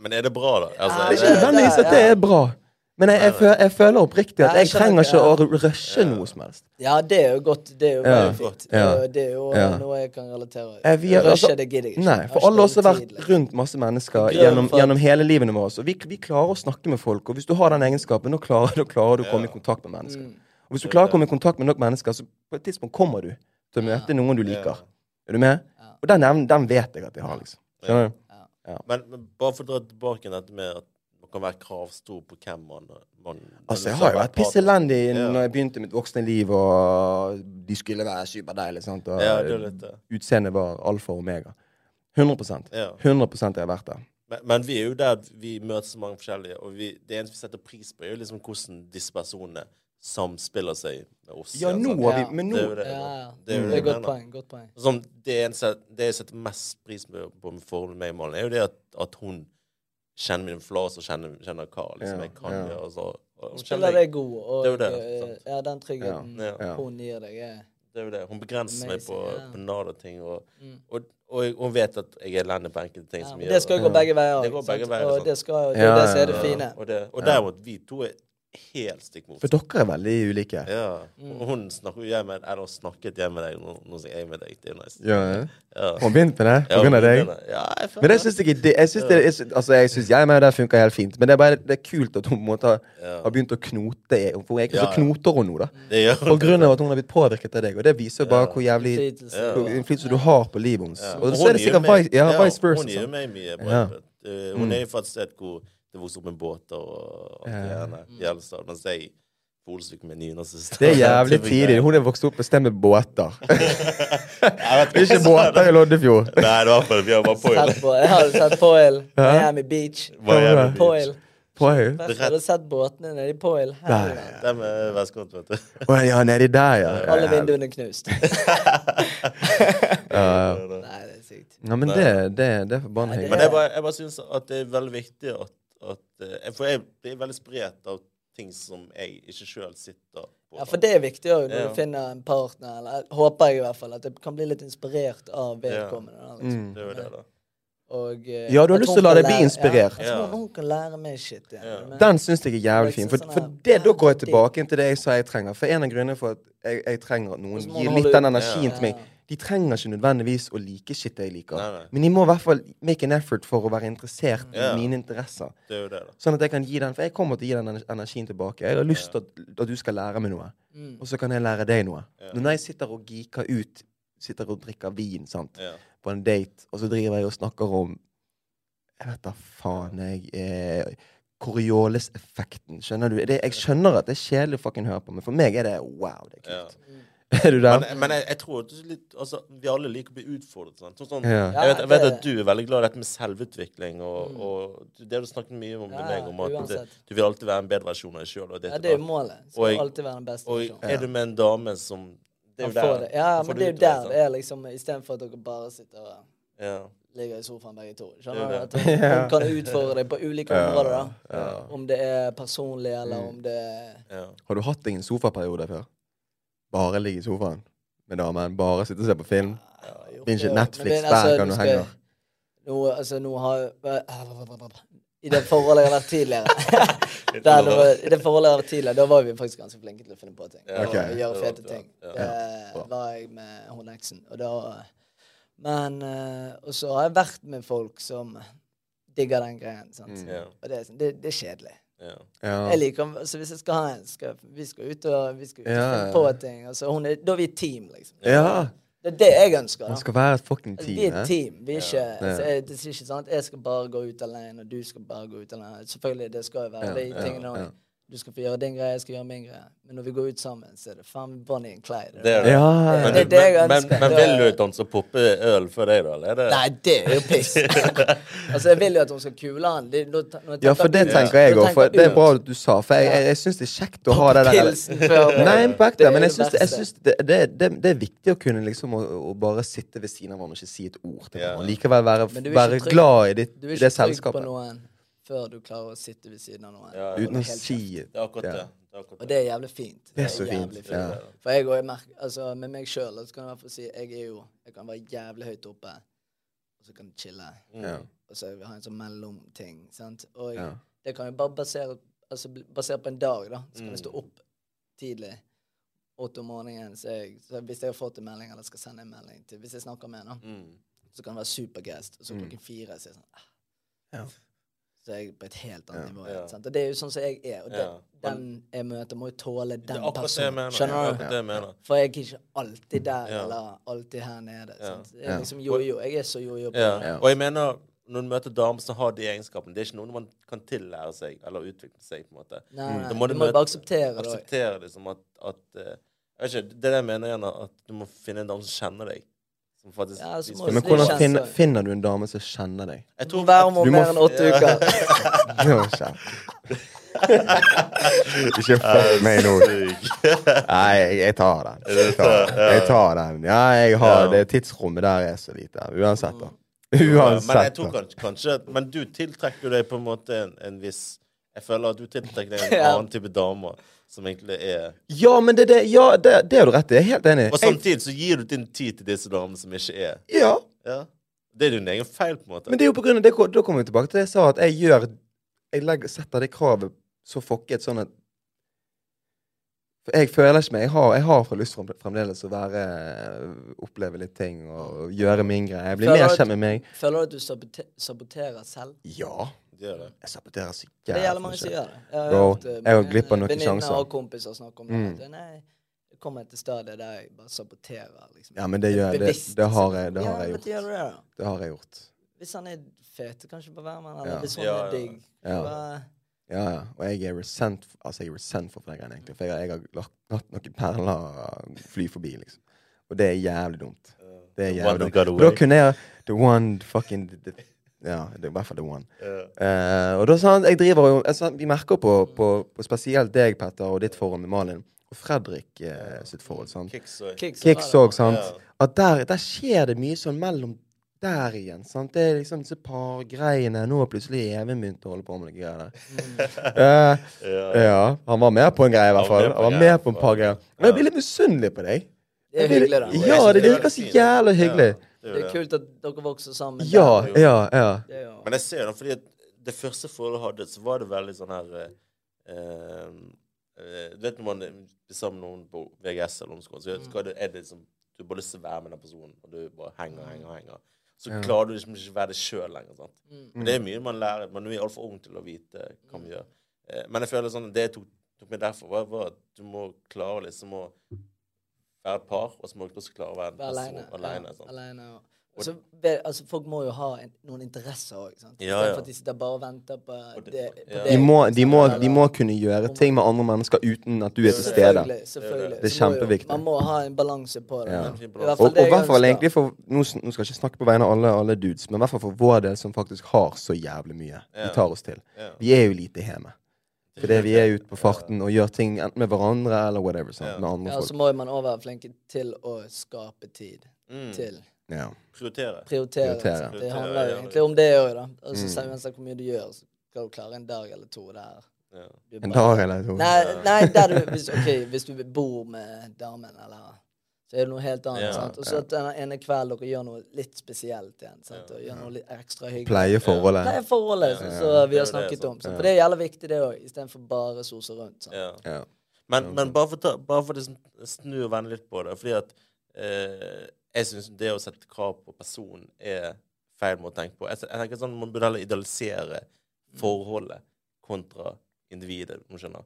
Men er det bra, da? Altså,
Ja,
Det er ikke
det-
nødvendigvis at det er bra, men jeg, jeg, føler, jeg føler oppriktig at
Ja, jeg
jeg trenger ikke å
skjønner
r- rushe noe som helst.
Ja, det er jo godt. Det er jo
Ja.
veldig fint.
Ja.
Og Det er jo
Ja.
noe jeg kan relatere
Eh, vi har-
Rushe,
altså-
det gidder jeg ikke.
Nei,
Jeg
for
har
alle
ikke
oss har
dårlig
vært
tid, liksom.
rundt masse mennesker
Jeg gleder
gjennom,
meg for at-
gjennom hele livene våre. Og vi, vi klarer å snakke med folk, og hvis du har den egenskapen, da klarer, da klarer du å komme i kontakt med mennesker.
Mm.
Og hvis du klarer å komme i kontakt med nok mennesker, så på et tidspunkt kommer du til å møte noen du liker. Er du med? Og den evnen den vet jeg at jeg har, liksom. Skjønner du?
Men, men bare for å dra tilbake til dette med at man kan være kravstor på hvem man, man
Altså, jeg har jo vært pisselendig
Ja.
når jeg begynte mitt voksne liv, og de skulle være superdeilige, sant. Og
Ja, det er litt det.
utseendet var alfa og omega. 100
Ja.
100 jeg har vært der.
Men, men vi er jo der at vi møter så mange forskjellige, og vi, det eneste vi setter pris på, er jo liksom hvordan disse personene samspiller seg med oss. sånn.
Ja, nå
sant?
har
Ja.
vi Men
Det
nå
er jo det.
Ja, ja.
Det er
det er
jo det jeg
godt
mener.
poeng. Godt poeng.
Sånn, det, eneste, det jeg setter mest pris på på med forholdet med meg og Malin, er jo det at, at hun kjenner min flas og kjenner, kjenner hva liksom,
Ja,
jeg kan
ja.
gjøre. Altså, og hun
Spiller
kjenner
deg
meg.
god, og
Det er jo det,
eh,
sant.
ja, den tryggheten
Ja, ja.
hun gir deg, er
Det er jo det. Hun begrenser meg på,
Amazing, ja. Mm.
på nada ting. Og, og, og, jeg- hun vet at jeg er elendig på enkelte ting.
ja,
som
men
jeg
Det
gjør,
skal jo
og-
gå begge veier.
Det går
sant?
begge veier,
Og
sant.
det, skal, jo- det
Ja,
er det som er det
ja,
fine.
Og, det, og derimot, vi to er helt stikk motsatt.
For dere er veldig ulike.
Ja.
Mm.
Og hun snakker jo jeg med Eller snakket jeg med deg, nå, nå sier jeg med deg. Det er jo nice.
Ja.
Ja.
Har hun begynt med det
Ja,
på grunn av deg?
Ja, jeg føler
Men det syns jeg ikke det- Jeg syns det, jeg syns- altså, jeg syns jeg med det funker helt fint, men det er bare det er kult at hun på en måte har, har begynt å knote. i- For jeg, så
Ja, ja.
knoter hun nå, da.
det gjør
På grunn av at hun har blitt påvirket av deg. Og det viser bare hvor jævlig
Innflytelse.
hvor innflytelse du har på livet hennes. Og
Og
så er
hun
det
gir
sikkert
meg-
vice, ja,
ja,
vice versa.
Hun gir
sant?
meg mye
Ja. Mm.
brødfødt. Eh, Hun er jo fra et sted hvor det vokser opp med båter og alt
Mm.
det der. Mens jeg på Olsvik med nynazister.
Det er jævlig tidlig. Hun er vokst opp et sted med båter.
Jeg vet
Ikke
hva-
båter i Loddefjord.
Nei, det var bare vi var på
Sett på, jeg har sett Poil. Miami Beach.
Miami Beach.
Poil.
Poeng.
Først har du sett båtene nede i Poil. Helvete.
Det med vestkant, vet du.
Å ja, nedi der, ja.
Alle vinduene knust. Nei, det er sykt.
ja men det, det, det er forbanna
det
hyggelig.
Men jeg bare, jeg bare syns at det er veldig viktig at, at eh, For jeg blir veldig spredt av ting som jeg ikke sjøl sitter på.
Ja, for det er viktig òg når
Ja.
du finner en partner, eller håper jeg i hvert fall, at det kan bli litt inspirert av vedkommende. da, Liksom.
Det er jo det, da.
Og, eh,
Mm. Ja, du
at
har lyst
hun
til å la
kan
deg bli
lære-
inspirert.
Ja, at hun- hun kan lære meg shit. Ja. Men-
Den syns jeg er jævlig fin. For,
Liksom sånn
for
her,
det, da går jeg
ja,
tilbake inn til det jeg sa jeg trenger. For en av grunnene for at jeg, jeg trenger at noen
så må
gir
man
litt
holde
den
ut. Ja.
energien til meg De trenger ikke nødvendigvis å like shit jeg liker,
Nei, nei.
men de må i hvert fall make an effort for å være interessert i
Ja.
mine interesser.
Det er jo det, da.
Sånn at jeg kan gi den, For jeg kommer til å gi den ener- energien tilbake. Jeg har lyst til at, at du skal lære meg noe,
Mm.
og så kan jeg lære deg noe. Men Når jeg sitter og geeker ut, sitter og drikker vin sant,
Ja.
på en date, og så driver jeg og snakker om Jeg vet da faen, jeg eh, Coriolis-effekten. Skjønner du? Det, jeg skjønner at det er kjedelig å fucking høre på, men for meg er det wow. det er kult. Er du der?
Men, men jeg, jeg tror at det er litt, altså, vi alle liker å bli utfordret. Sant? Sånn, sånn,
Ja.
jeg, vet, jeg vet
Ja, det- Mm.
at du er veldig glad i dette med selvutvikling. Og, og du- det har du snakket mye om med
Ja,
meg, om at
uansett.
du, du vil alltid være en bedre versjon av deg sjøl.
Ja, det er jo målet.
Og
Skal
jeg-
alltid være den beste
Og
versjonen.
er du med en dame som Det
Han
altså. er jo
får
der.
det. Ja,
så får
men
du
det er jo
utover,
der det er, liksom. Istedenfor at dere bare sitter og
sant? Ja.
ligger i sofaen begge to.
Det er
Skjønner du?
det.
At hun hun kan utfordre deg på ulike områder, da. Om det er personlig,
Mm.
eller om det er
Ja.
Har du hatt ingen sofaperiode før? Bare ligge i sofaen med damen, bare sitte og se på film?
Ja, jo,
Binge
det-
Netflix
men det-
hver gang
nå
du
skal
henger.
jeg- Nå, altså, nå har I det forholdet jeg har vært tidligere der, det var, I det forholdet jeg har vært tidligere, da var vi faktisk ganske flinke til å finne på ting.
Ja,
Ok.
Og gjøre
det
fete
var-
ting.
ja.
bra.
Det var jeg med hun eksen, og da Men eh, Og så har jeg vært med folk som digger den greien, sant.
Ja.
Og det er, sånn- det, det er kjedelig.
Ja.
Ja.
Jeg liker, altså Hvis jeg skal ha en, skal vi skal ut og vi skal ut og
Ja,
finne
ja.
på ting. Altså, hun er, da er vi et team, liksom.
ja.
Det er det jeg ønsker. da.
Man skal være et fucking
Altså, Vi
team.
er et
eh?
team. Vi er ikke, altså, jeg, det er ikke sånn at jeg skal bare gå ut alene, og du skal bare gå ut alene. Selvfølgelig, det skal jo være
Ja,
de
ja,
tingene.
ja.
Du skal få gjøre din greie, jeg skal gjøre min greie. Men når vi går ut sammen, så er det faen meg Bonnie and Clyde.
Det er det.
Ja,
Det
Men,
er det jeg
men, men,
ønsker.
men
Det
vil
er-
du ikke danse og poppe øl før deg, da? Eller er det
Nei, det er jo piss. altså, jeg vil jo at hun skal kule han. Det, når, når jeg
ja, for det
ut,
tenker
når
jeg òg. For
tenker
det er
ut,
bra at du sa, for jeg, jeg, jeg syns det er kjekt å ha det der
Pilsen før
Nei, men på
Det
ekte.
er
Men
det
jeg syns det, jeg
verste.
syns det, det, det, det er viktig å kunne liksom å, å bare sitte ved siden av hverandre og ikke si et ord til
Ja.
hverandre. Likevel være,
Men du er ikke
være
trygg-
glad i ditt,
Du er
det
ikke trygg på
selskapet.
noen før du klarer å sitte ved siden av noen.
Ja, ja.
Uten å
Helt
si
Det er akkurat
Ja.
det. det, er akkurat
Og det er jævlig fint.
Det er så fint.
jævlig
Ja.
For jeg går, jeg merker, altså Med meg sjøl kan jeg i hvert fall si jeg er jo Jeg kan være jævlig høyt oppe, og så kan jeg chille.
Mm,
Ja.
Og så vil jeg ha en sånn mellomting. sant? Og
Ja.
det kan jeg bare basere altså bl- basert på en dag, da. Så
Mm.
kan jeg stå opp tidlig. Åtte om morgenen. Så jeg, så hvis jeg har fått en melding, eller skal sende en melding til Hvis jeg snakker med henne,
Mm.
så kan det være supergest. Og så klokken fire så er jeg sånn ah.
Ja.
Så jeg er på et helt annet nivå.
Ja.
Sant? Og det er jo sånn som jeg er. Og den,
Ja.
den jeg møter, må jo tåle
Det er
den
akkurat det jeg
personen.
mener. Det er
Skjønner du?
akkurat det jeg mener.
For jeg er ikke alltid der,
Ja.
eller alltid her nede. sant? Jeg
Ja.
er liksom jojo. Jeg er så jojo. på det.
Ja. Og jeg mener, når du møter damer som har de egenskapene, det er ikke noe man kan tillære seg eller utvikle seg. på en måte.
Nei, nei,
Mm. Da
du må
møte-
bare akseptere det.
akseptere det som at, at eh, jeg vet ikke, Det er det jeg mener igjen, at du må finne en dame som kjenner deg. Som faktisk
Ja, så må
viser-
du
Men
Det
hvordan
kjennes
finner,
sånn.
finner du en dame som kjenner deg?
Jeg
Du må
tror
være om
Du må
mer enn åtte
f-
uker.
Det var kjent. Ikke fuck meg nå. Nei, jeg, jeg tar den. Jeg tar, jeg tar den. Ja, jeg har det tidsrommet der er så lite. Uansett, da.
Men jeg
Uansett.
tror
da.
kanskje, kanskje at- Men du tiltrekker jo deg på en måte en, en viss Jeg føler at du tiltrekker deg en
Ja.
annen type dame som egentlig er
Ja, men det, er det, ja, det, det har du rett i. Jeg er helt enig.
Og sånn- samtidig så gir du din tid til disse damene som ikke er.
Jeg, ja,
Ja. Det er din egen feil, på en måte.
men det er jo på grunn av det, Da kommer vi tilbake til det jeg sa, at jeg gjør Jeg legger, setter det kravet så fucket sånn at for Jeg føler ikke meg Jeg har, jeg har for lyst frem- fremdeles å være øh, oppleve litt ting og gjøre min greie. Jeg blir
Føler
mer
du-
kjent med meg.
Føler du at du sabote saboterer selv?
Ja.
Det gjør det.
Jeg saboterer så
Det er jævlig
jævlig
mange som
mye.
gjør det. Jeg
Bro,
hørt, eh,
jeg har
mange
glipp av noen sjanser.
Venninner og kompiser snakker om det.
Mm.
at, Nei, jeg kommer til stadiet der jeg bare saboterer. liksom.
Ja, men det gjør jeg. Det,
Bevisst.
det har jeg, det har
ja,
jeg
men
gjort.
gjør du det, da?
Det har jeg gjort.
Hvis han er fet, kanskje bare være med han. Eller
Ja.
hvis hun
Ja,
er
ja.
digg.
Ja.
Bare-
Ja, ja. Og jeg er resent Altså, jeg er resentful for den greien, egentlig. For jeg, har- jeg har lagt, latt noen perler fly forbi, liksom. Og det er jævlig dumt. Det er
The
jævlig
one who
dumt.
got
For Da
away.
kunne jeg The one fucking the, Ja, det er i hvert fall the one.
Ja.
Eh, og da sånn, jeg driver jo altså, Vi merker på, på, på spesielt deg, Petter, og ditt forhold med Malin. Og Fredrik eh, sitt forhold. sant?
Kicks og
Kicks og
Kicks
bare-
òg, sant?
Ja.
At der, der skjer det mye sånn mellom der igjen. sant? Det er liksom disse pargreiene. Nå har plutselig Even begynt å holde på med noen greier
Mm.
der. Eh, ja. Han var med på en greie, i hvert
Han var
fall.
med
Han
på
var
en
med
greie.
på en par greier. Men jeg blir litt misunnelig på deg.
Det er
Jeg blir-
hyggelig, da.
Ja, det
er
virker så
fint.
jævlig hyggelig.
Ja, det
Det
er
er
det.
kult at dere vokser sammen.
Ja,
der.
ja, ja.
Det er jo-
Men jeg ser det, fordi at det første forholdet jeg hadde, så var det veldig sånn her eh, eh, Du vet når man er sammen med noen på VGS eller omskolen, så skal det, er det liksom Du har bare lyst til å være med den personen, og du bare henger, henger, henger. Så klarer du liksom ikke å være deg sjøl lenger. sant?
Mm.
Men det er mye man lærer. Man er altfor ung til å vite hva man gjør. Eh, Men jeg føler sånn Det jeg tok, tok meg derfor, var, var at du må klare liksom å være et par, og så må du også klare å være en
Være
person
aleine.
aleine.
Ja, alene, og- Og så be- altså, folk må jo ha en, noen interesser òg.
Ja, ja.
For at de sitter bare og venter på
det-
det.
ja.
På
De må, de, må, de må kunne gjøre ting med andre mennesker uten at du er til stede.
Selvfølgelig. selvfølgelig.
Det er
Så må jo-
kjempeviktig.
Man må ha en balanse på det.
Ja.
da.
En fin
I
Og,
balanse.
og
det
i
jeg
hvert fall
ønsker.
egentlig for nå, sn- nå skal jeg ikke snakke på vegne av alle, alle dudes, men i hvert fall for vår del, som faktisk har så jævlig mye vi
Ja.
tar oss til.
Ja.
Vi er jo lite hjemme. Fordi vi er ute på farten og gjør ting enten med hverandre eller whatever. Sant?
Ja.
Med andre
Ja, altså- så må
folk.
man òg være flink til å skape tid.
Mm.
Til.
Ja.
Prioritere.
Prioritere.
Prioritere.
sant? Det
Prioritere,
handler jo
ja.
egentlig om det òg, da. Altså,
Mm.
Selv om hvor mye du gjør, så skal du klare en dag eller to der.
Ja.
Du
En
bare-
dag eller to.
Nei, nei der du, hvis, ok, hvis du bor med damen, eller så er det noe helt annet.
Ja,
sant? Og så at den ene kvelden dere gjør noe litt spesielt igjen. sant? Og gjør noe litt ekstra hyggelig.
Pleie
Det
forholdet.
er forholdet
Ja.
som
Ja.
som
Det
vi
er jo
har
det,
snakket
sant.
om. Så, for det er jævla viktig, det òg, istedenfor bare sose rundt. sant?
Ja.
Ja.
Men, men bare for, å ta- bare for å liksom snu og vende litt på det Fordi at eh, jeg syns det å sette krav på personen er feil måte å tenke på. Jeg, s- jeg tenker sånn, Man burde heller idealisere
Mm.
forholdet kontra individet. om du skjønner.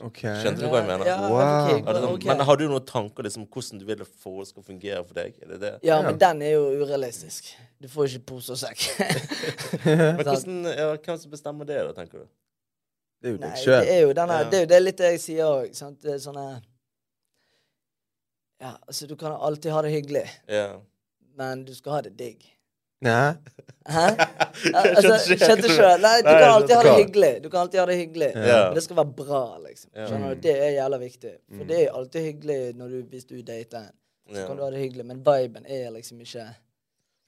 Ok.
Skjønte du hva jeg mener?
Ja,
Wow.
ok,
Er det sånn,
ok.
Men har du noen tanker liksom hvordan du vil at forhold skal fungere for deg? Er det det?
Ja,
Ja.
men den er jo urealistisk. Du får ikke pose og sekk.
Men
sant.
hvordan, ja, Hvem som bestemmer det, da, tenker du?
Det er jo
Nei,
deg
det
sjøl.
er jo den her-
Ja.
Det er jo det litt det jeg sier òg. Sånne Ja, altså, du kan alltid ha det hyggelig,
Ja.
men du skal ha det digg. Hæ? Ja,
Jeg
Altså,
skjønte ikke helt
skjønte
hva du-
sjøl. Nei, du
Nei,
kan
jeg
alltid ha
skjønte
det
ikke.
hyggelig. Du kan alltid ha det hyggelig.
Ja.
Men det skal være bra, liksom.
Ja. Mm.
Skjønner du? Det er jævla viktig. For det er alltid hyggelig når du, hvis du dater en. Så
Ja.
kan du ha det hyggelig, men viben er liksom ikke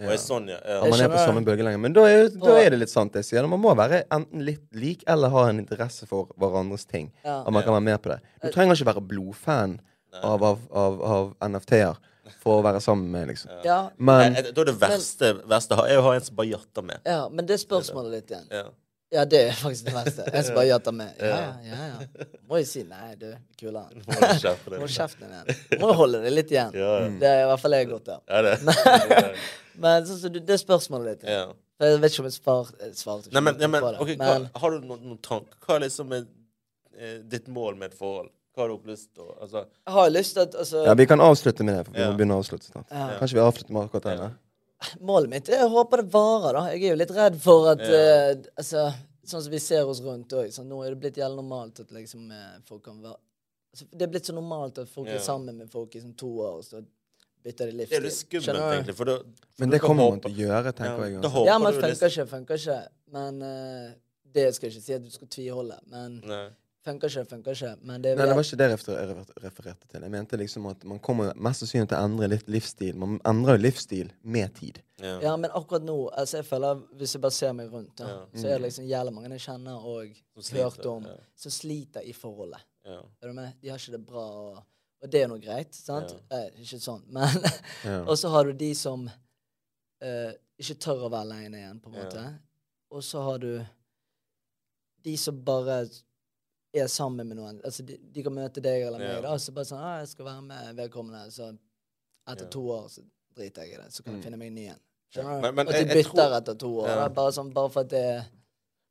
Og jeg, sånn, ja.
Ja,
ja.
man er på
skjønner.
samme bølgelengde. Men da er, jo- da er det litt sant, det jeg sier. Man må være enten litt lik eller ha en interesse for hverandres ting.
Ja.
At man kan være med på det. Du trenger ikke være blodfan av, av, av, av NFT-er for å være sammen med, liksom.
Ja,
Men
Jeg- jeg- Da er det verste, verste å ha- er å ha en som bare jatter med.
ja men det er spørsmålet ditt igjen.
Ja.
Ja, det er faktisk det verste. Jeg skal bare gjette med. Ja, ja, ja. Må jo si nei, du. Kulan.
Må du skjerpe deg.
Må Mm. kjeften igjen. Må holde det litt igjen.
Ja, ja.
Det er i hvert fall jeg godt av.
Ja, det.
Men sånn som du- det er spørsmålet ditt.
ja.
Jeg vet ikke om jeg svar- eh, svarte
Nei, men, ja, men,
på det.
ok,
men
hva, har du noen, noen tanker? Hva er liksom er, eh, ditt mål med et forhold? Hva har du lyst til å altså,
jeg har jo lyst til at altså,
ja, vi kan avslutte med det. For vi
Ja.
må begynne å avslutte snart.
Ja.
Kanskje vi avslutter med akkurat denne?
Målet mitt er å håpe det varer, da. Jeg er jo litt redd for at
Ja.
eh, altså, Sånn som vi ser oss rundt òg. Sånn, nå er det blitt jævlig normalt at liksom eh, folk kan være altså, Det er blitt så normalt at folk
Ja.
er sammen med folk i sånn to år, og så bytter de livsstil.
Det er jo litt skummelt,
Skjønner du?
egentlig. For da, for
Men
da
det kommer man
håper-
til å gjøre, tenker
Ja,
jeg. altså.
da
uansett.
håper
Ja, men
du
funker
liksom-
ikke, funker ikke. Men eh, det skal jeg ikke si at du skal tviholde. Men
Nei.
funker ikke, funker ikke. Men det er
Nei, det
vel-
var ikke det jeg refer- refer- refererte til. Jeg mente liksom at man kommer mest sannsynlig til å endre litt livsstil. Man endrer jo livsstil med tid.
Ja.
Ja, men akkurat nå, altså jeg føler hvis jeg bare ser meg rundt, da,
Ja.
så er det liksom jævla mange jeg kjenner og
Som sliter,
hørt om,
ja.
som sliter i forholdet.
Ja.
Er du med? De har ikke det bra, og, og det er nå greit, sant? Eh, ikke sånn, men
Ja.
Og så har du de som eh, ikke tør å være aleine igjen, på en
Ja.
måte. Og så har du de som bare er sammen med noen. Altså, de, de kan møte deg eller meg,
Ja.
da, og så bare sånn ah, 'Jeg skal være med vedkommende.' Så etter
Ja. Mm.
to år så driter jeg i det. Så kan jeg finne meg en ny en. Skjønner du?
Men- men
at de
jeg- jeg
bytter
tror-
etter to år.
Ja.
da, Bare, sånn, bare for at det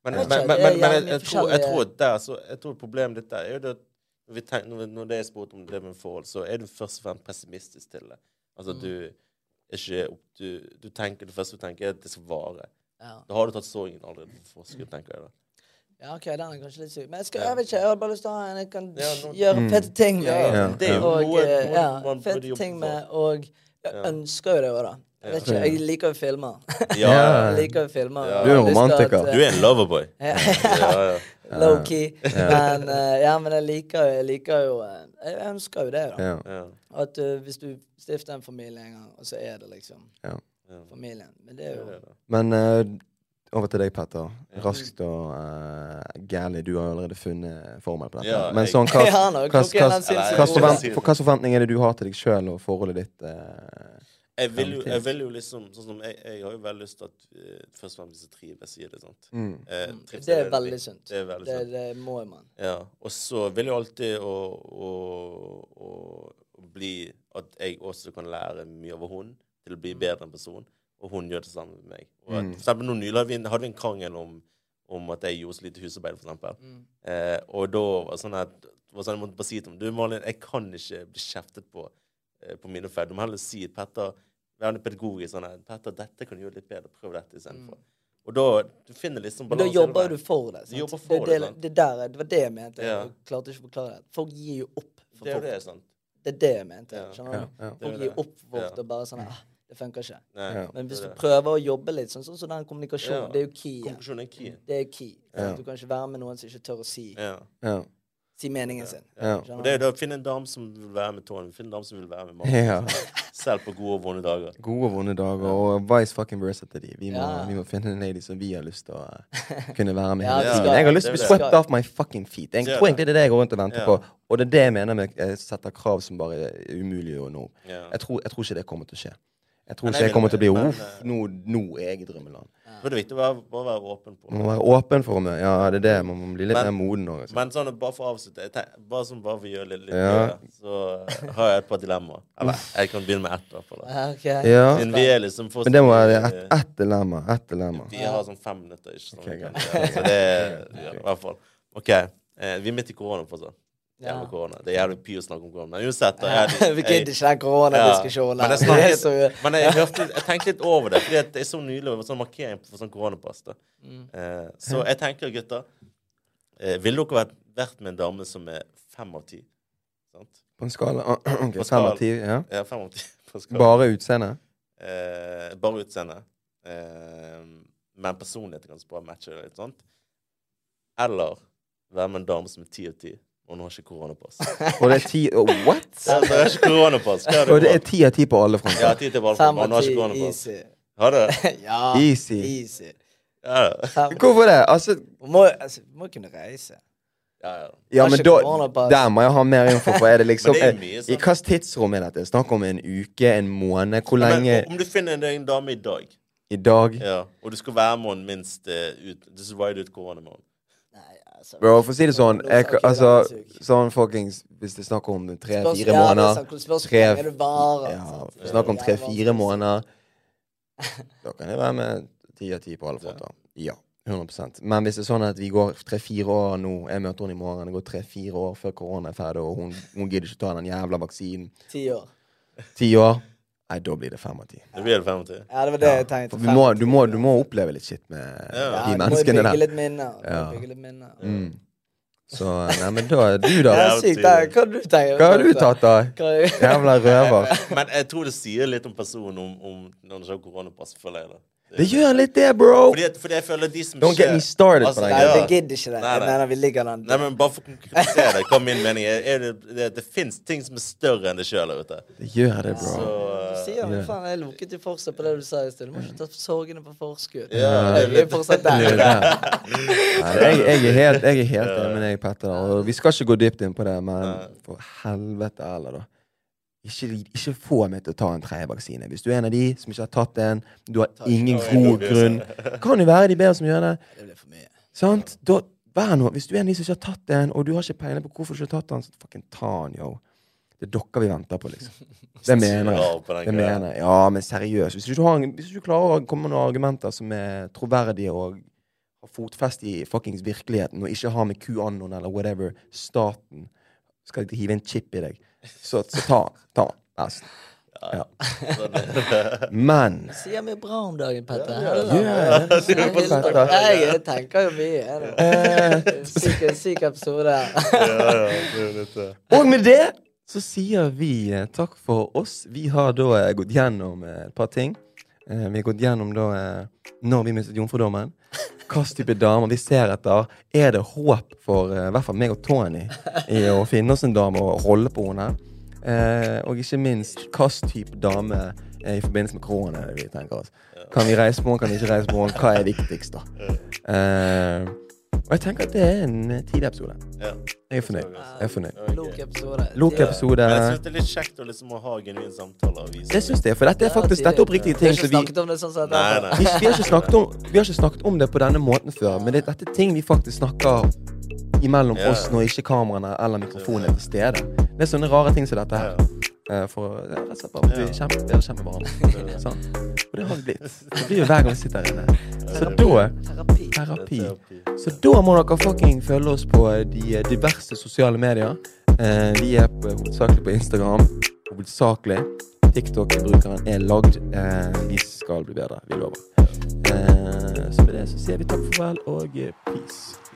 Men,
Jeg vet ikke,
men, men, men,
det er
men jeg,
jævlig mye
jeg, tror, jeg,
forskjellige-
tror at der, så, jeg tror problemet ditt der er jo det at når, vi tenk, når, vi- når det er spurt om det med forhold, så er du først og fremst pessimistisk til det. Altså du er ikke opp, du, du tenker det første du tenker, er at det skal vare.
ja.
Da har du tatt sorgen allerede på forskudd, tenker jeg da.
ja, OK, den er kanskje litt syk. Men jeg, skal, jeg vet ikke, jeg har bare lyst til å ha en jeg kan
Ja, nå-
gjøre fete ting med.
Ja,
Mm. Ja.
det er jo
og,
noe,
eh,
noe
ja,
man burde
fete
jobbe
ting
for.
med, og jeg ønsker jo det òg, da. Jeg, vet ikke, jeg liker jo filmer.
Ja,
Ja.
jeg liker jo filmer. og
Du er
jeg har lyst til
romantiker.
at, eh,
Du er en loverboy. Ja, ja.
Low-key. Men, eh, ja, men jeg liker jo, jeg liker jo eh, Jeg ønsker jo det, da.
Ja.
ja.
At eh, hvis du stifter en familie en gang, og så er det liksom
Ja.
familien. Men det er jo
Men eh, over til deg, Petter. Raskt og uh, gærlig. Du har jo allerede funnet formel på dette.
Ja,
Men
jeg-
sånn, hva
Ja, han har jo
hva-
kokain, han
hva-
sier
hva-
så
hva
god.
forvent- for- hva slags forventning er det du har til deg sjøl og forholdet ditt? eh?
Jeg vil, jo,
Fremtid.
jeg vil jo liksom sånn som jeg, jeg har jo veldig lyst til at eh, først og fremst trives i det. sant?
Mm.
Eh, trivsel
Det er
veldig
veldig
viktig.
sunt.
Det er veldig
Det,
sunt.
det må man.
Ja. Og så vil jeg alltid å, å, å, å bli At jeg også kan lære mye over hun til å bli
Mm.
bedre en person, og hun gjør det samme med meg. Og at, for eksempel, nå nylig hadde vi en- hadde vi en krangel om, om at jeg gjorde så lite husarbeid, for eksempel.
Mm.
Eh, og da var det sånn at det var sånn jeg måtte bare si til ham Du, Malin, jeg kan ikke bli kjeftet på eh, på mine feil. Du må heller si Petter Gjerne pedagogisk sånn her, 'Petter, dette kan du gjøre litt bedre. Prøv dette istedenfor.' Og da du finner liksom
Mm. Men da
balansen i
jobber
det.
jo du for det.
Du jobber
sant?
for
det,
det,
det,
sant?
det, der, er- det var det jeg mente.
Ja.
Jeg klarte ikke å forklare det. Folk gir jo opp for
Det er jo
fort.
det, sant?
Det er det jeg mente.
Ja.
skjønner du?
Ja, ja.
Det er
Folk
jo
gir
det.
opp for fort
Ja.
og bare sånn ah, Det funker ikke.
Nei,
Ja.
Men
det
hvis
er
du
det.
prøver å jobbe litt, sånn sånn som den kommunikasjonen,
Ja.
det er jo key. her.
Konklusjonen er key.
Det er key.
Ja.
Du kan ikke være med noen som ikke tør å si,
Ja.
Ja.
si meningen sin.
Ja.
Skjønner
Og det er
du?
jo det å finne en dame som vil være med Tony, finne en dame som vil være med Mark.
ja.
Selv på gode og vonde dager.
Gode og vonde dager, og vice fucking versa til de. Vi må,
Ja.
vi må finne en lady som vi har lyst til å eh, kunne være med
Ja,
hele
vi
tiden.
skal-
Jeg har lyst til å
det
bli
er det.
swept off my fucking feet. Jeg
Ja.
tror egentlig det er det jeg går rundt og venter
Ja.
på, og det er det jeg mener med eh, setter krav som bare er umulig å nå.
Ja.
Jeg tror, jeg tror ikke det kommer til å skje. Jeg tror
Men
ikke
jeg
jeg kommer til å bli
vil- men, eh,
uff, nå, nå er jeg i drømmeland.
Jeg tror det er viktig å være, bare være åpen på
Man må være åpen for å møte Ja, det er det. Man må bli litt
Men-
mer moden altså. òg.
Men sånn, bare for å avslutte jeg tenk, Bare sånn, bare for å gjøre litt, litt
Ja.
gøy, så eh, har jeg et par dilemmaer. Eller jeg kan begynne med ett. i hvert fall, da.
Ja, «Ah, ok.
Ja.
Siden vi er liksom fortsatt
Men det må være
i-
ett et dilemma. Ett dilemma.
Vi har sånn fem minutter, ikke sant?
Ok, greit.
så det er ja, i hvert fall OK. Eh, vi er midt i korona fortsatt. Jævla
Ja.
korona. Det er jævlig py å snakke om korona. Men uansett da, jeg,
Vi gidder ikke den koronadiskusjonen.
Men jeg,
her. Det er så-
snakket, men jeg, hørte, litt- jeg tenkte litt over det. Fordi at jeg så nylig over sånn markering for sånn koronapass. da. Eh, så jeg tenker, gutter eh, Ville dere vært, vært med en dame som er fem av ti? Sant?
På en skala ah, ok,
På
Fem
skala.
av ti? Ja.
Ja, fem av ti på skala.
Bare utseende?
Eh, bare utseende. Eh, men personligheten kan så bra matche det. Ikke sant? Eller være med en dame som er ti av ti, og hun har ikke koronapass.
Og det er ti oh, What?!
Altså, hun har ikke koronapass. Hva er
Og det er
det?
ti av ti på alle
Ja,
fronter.
ti til valgfag,
Fem
men hun
av
har
ti,
ikke koronapass.
easy.
Har du det?
Ja,
Easy.
easy.
Ja, ja.
Fem.
Hvorfor det? Altså,
Man må, altså, man må kunne reise.
ja, ja.
ja,
Har
men
ikke
da,
koronapass.
der må jeg ha mer info. For er det liksom
Men det er jo
eh,
mye, sant?
sånn.
I hvilket tidsrom er dette? Snakk om en uke, en måned? Hvor
Men
lenge?
om du finner deg en dame i dag,
I dag?
ja, og du skal være med henne minst eh, ut Du skal ride ut korona med henne.
Nei, altså,
Bro, for å si det sånn
Nå
jeg,
snakker vi
altså,
den neste uke.
Sånn fuckings Hvis det er snakk om
Spørs-
tre-fire
ja,
måneder
det er sant, hvordan spørs-
tre,
er det varer,
ja,
sant?
Snakk om
Ja, vanskelig.
tre-fire måneder Da kan jeg være med ti av ti på alle fronter. Ja. 100 Men hvis det er sånn at vi går tre-fire år nå Jeg møter henne i morgen. Det går tre-fire år før korona er ferdig, og hun, hun gidder ikke ta den jævla vaksinen.
Ti år.
Ti år? Nei, da blir det fem av ti.
Det blir det fem av ti.
Ja, det var det jeg tenkte.
For vi må, du, må, du må oppleve litt shit med
Ja.
ja,
de menneskene
der. Bygge
der.
litt minner. du må
Ja.
Bygge litt minner.
Mm. Så Nei, men da Du,
Det
da?
er
Jævlig
sykt. det er- Hva har du tenkt?
Hva har du tatt, da?
Hva-
Jævla røver.
Men jeg tror det sier litt om personen om, om når du har koronapass, føler jeg. da.
Det gjør litt det, bro!
Fordi, at- fordi jeg føler de som
Don't get me started på den
Nei,
Ja.
vi gidder ikke Altså, det.
Nei,
Jeg
nei.
mener vi ligger den.
Nei, men bare for å konkretisere det, hva min mening er, er det, det, det fins ting som er større enn det sjøl der ute.
Det gjør det,
Så
bro.
Du
eh,
sier jo
Ja.
faen, jeg lukket jo fortsatt på det du sa i sted. Du må ikke ta sorgene på forskudd.
Ja, det er
Jeg er fortsatt
Det er
der.
jo der. Nei, jeg, jeg er helt, jeg er helt enig med deg, Petter. Og vi skal ikke gå dypt inn på det, men for helvete heller, da. Ikke, ikke få meg til å ta en tredje vaksine. Hvis du er en av de som ikke har tatt en, du har ingen god grunn Kan jo være de bedre som gjør det.
Det blir for mye.
Sant? Da, vær nå, hvis du er en av de som ikke har tatt den, og du har ikke peiling på hvorfor du ikke har tatt den, så fucking ta den, yo. Det er dere vi venter på, liksom. Det mener jeg.
Drar på den
Det
greia.
mener jeg. Ja, men seriøst. Hvis ikke du, har, en- hvis ikke du klarer å komme med noen argumenter som er troverdige og har fotfeste i fuckings virkeligheten, og ikke har med QAnon eller whatever staten skal ikke hive en chip i deg, så, så ta den. Ta den. Vær så snill. Ja.
så det-
Men
Du sier mye bra om dagen, Petter.
Gjør det.
Jeg
Gjør det,
hilser-
Petter.
Nei, Jeg tenker jo mye. jeg nå.
Eh.
Syk, syk episode.
Ja, ja, det er litt, eh.
Og med det så sier vi eh, takk for oss. Vi har da eh, gått gjennom eh, et par ting. Eh, vi har gått gjennom da eh, når vi mistet jomfrudommen. Hva slags type damer vi ser etter. Er det håp for eh, i hvert fall meg og Tony i å finne oss en dame og holde på henne? Eh, og ikke minst hva slags type dame eh, i forbindelse med korona er det vi tenker oss. Kan vi reise på henne, kan vi ikke reise på henne? Hva er viktigst, da? Eh, og jeg tenker at det er en eh, tidlig episode.
Ja.
Jeg er fornøyd. Jeg er fornøyd.
Klok episode.
Lukk episode.
Men jeg syns det er litt kjekt å liksom å ha genuine samtaler. og vise
Det syns jeg, for dette er faktisk dette er oppriktige
Vi har
ting
ikke
som vi
snakket om det sånn sett.
Nei, nei.
vi, vi, har ikke snakket om, vi har ikke snakket om det på denne måten før, men det, dette er ting vi faktisk snakker imellom
Ja.
oss når ikke kameraene eller mikrofonen er til stede. Det er sånne rare ting som dette her. eh, For ja, rett og slett bare bli
Ja.
kjempe, bedre kjent med hverandre. Sånn. Og det har vi blitt. Det blir jo hver gang vi sitter her inne. Så da
Terapi.
Terapi.
Terapi.
Så da må dere fucking følge oss på de eh, diverse sosiale medier. Eh, vi er på, hovedsakelig på Instagram. Hovedsakelig. TikTok-brukeren er lagd. Eh, vi skal bli bedre. Vi lover. Eh, så med det så sier vi takk for vel og eh, peace.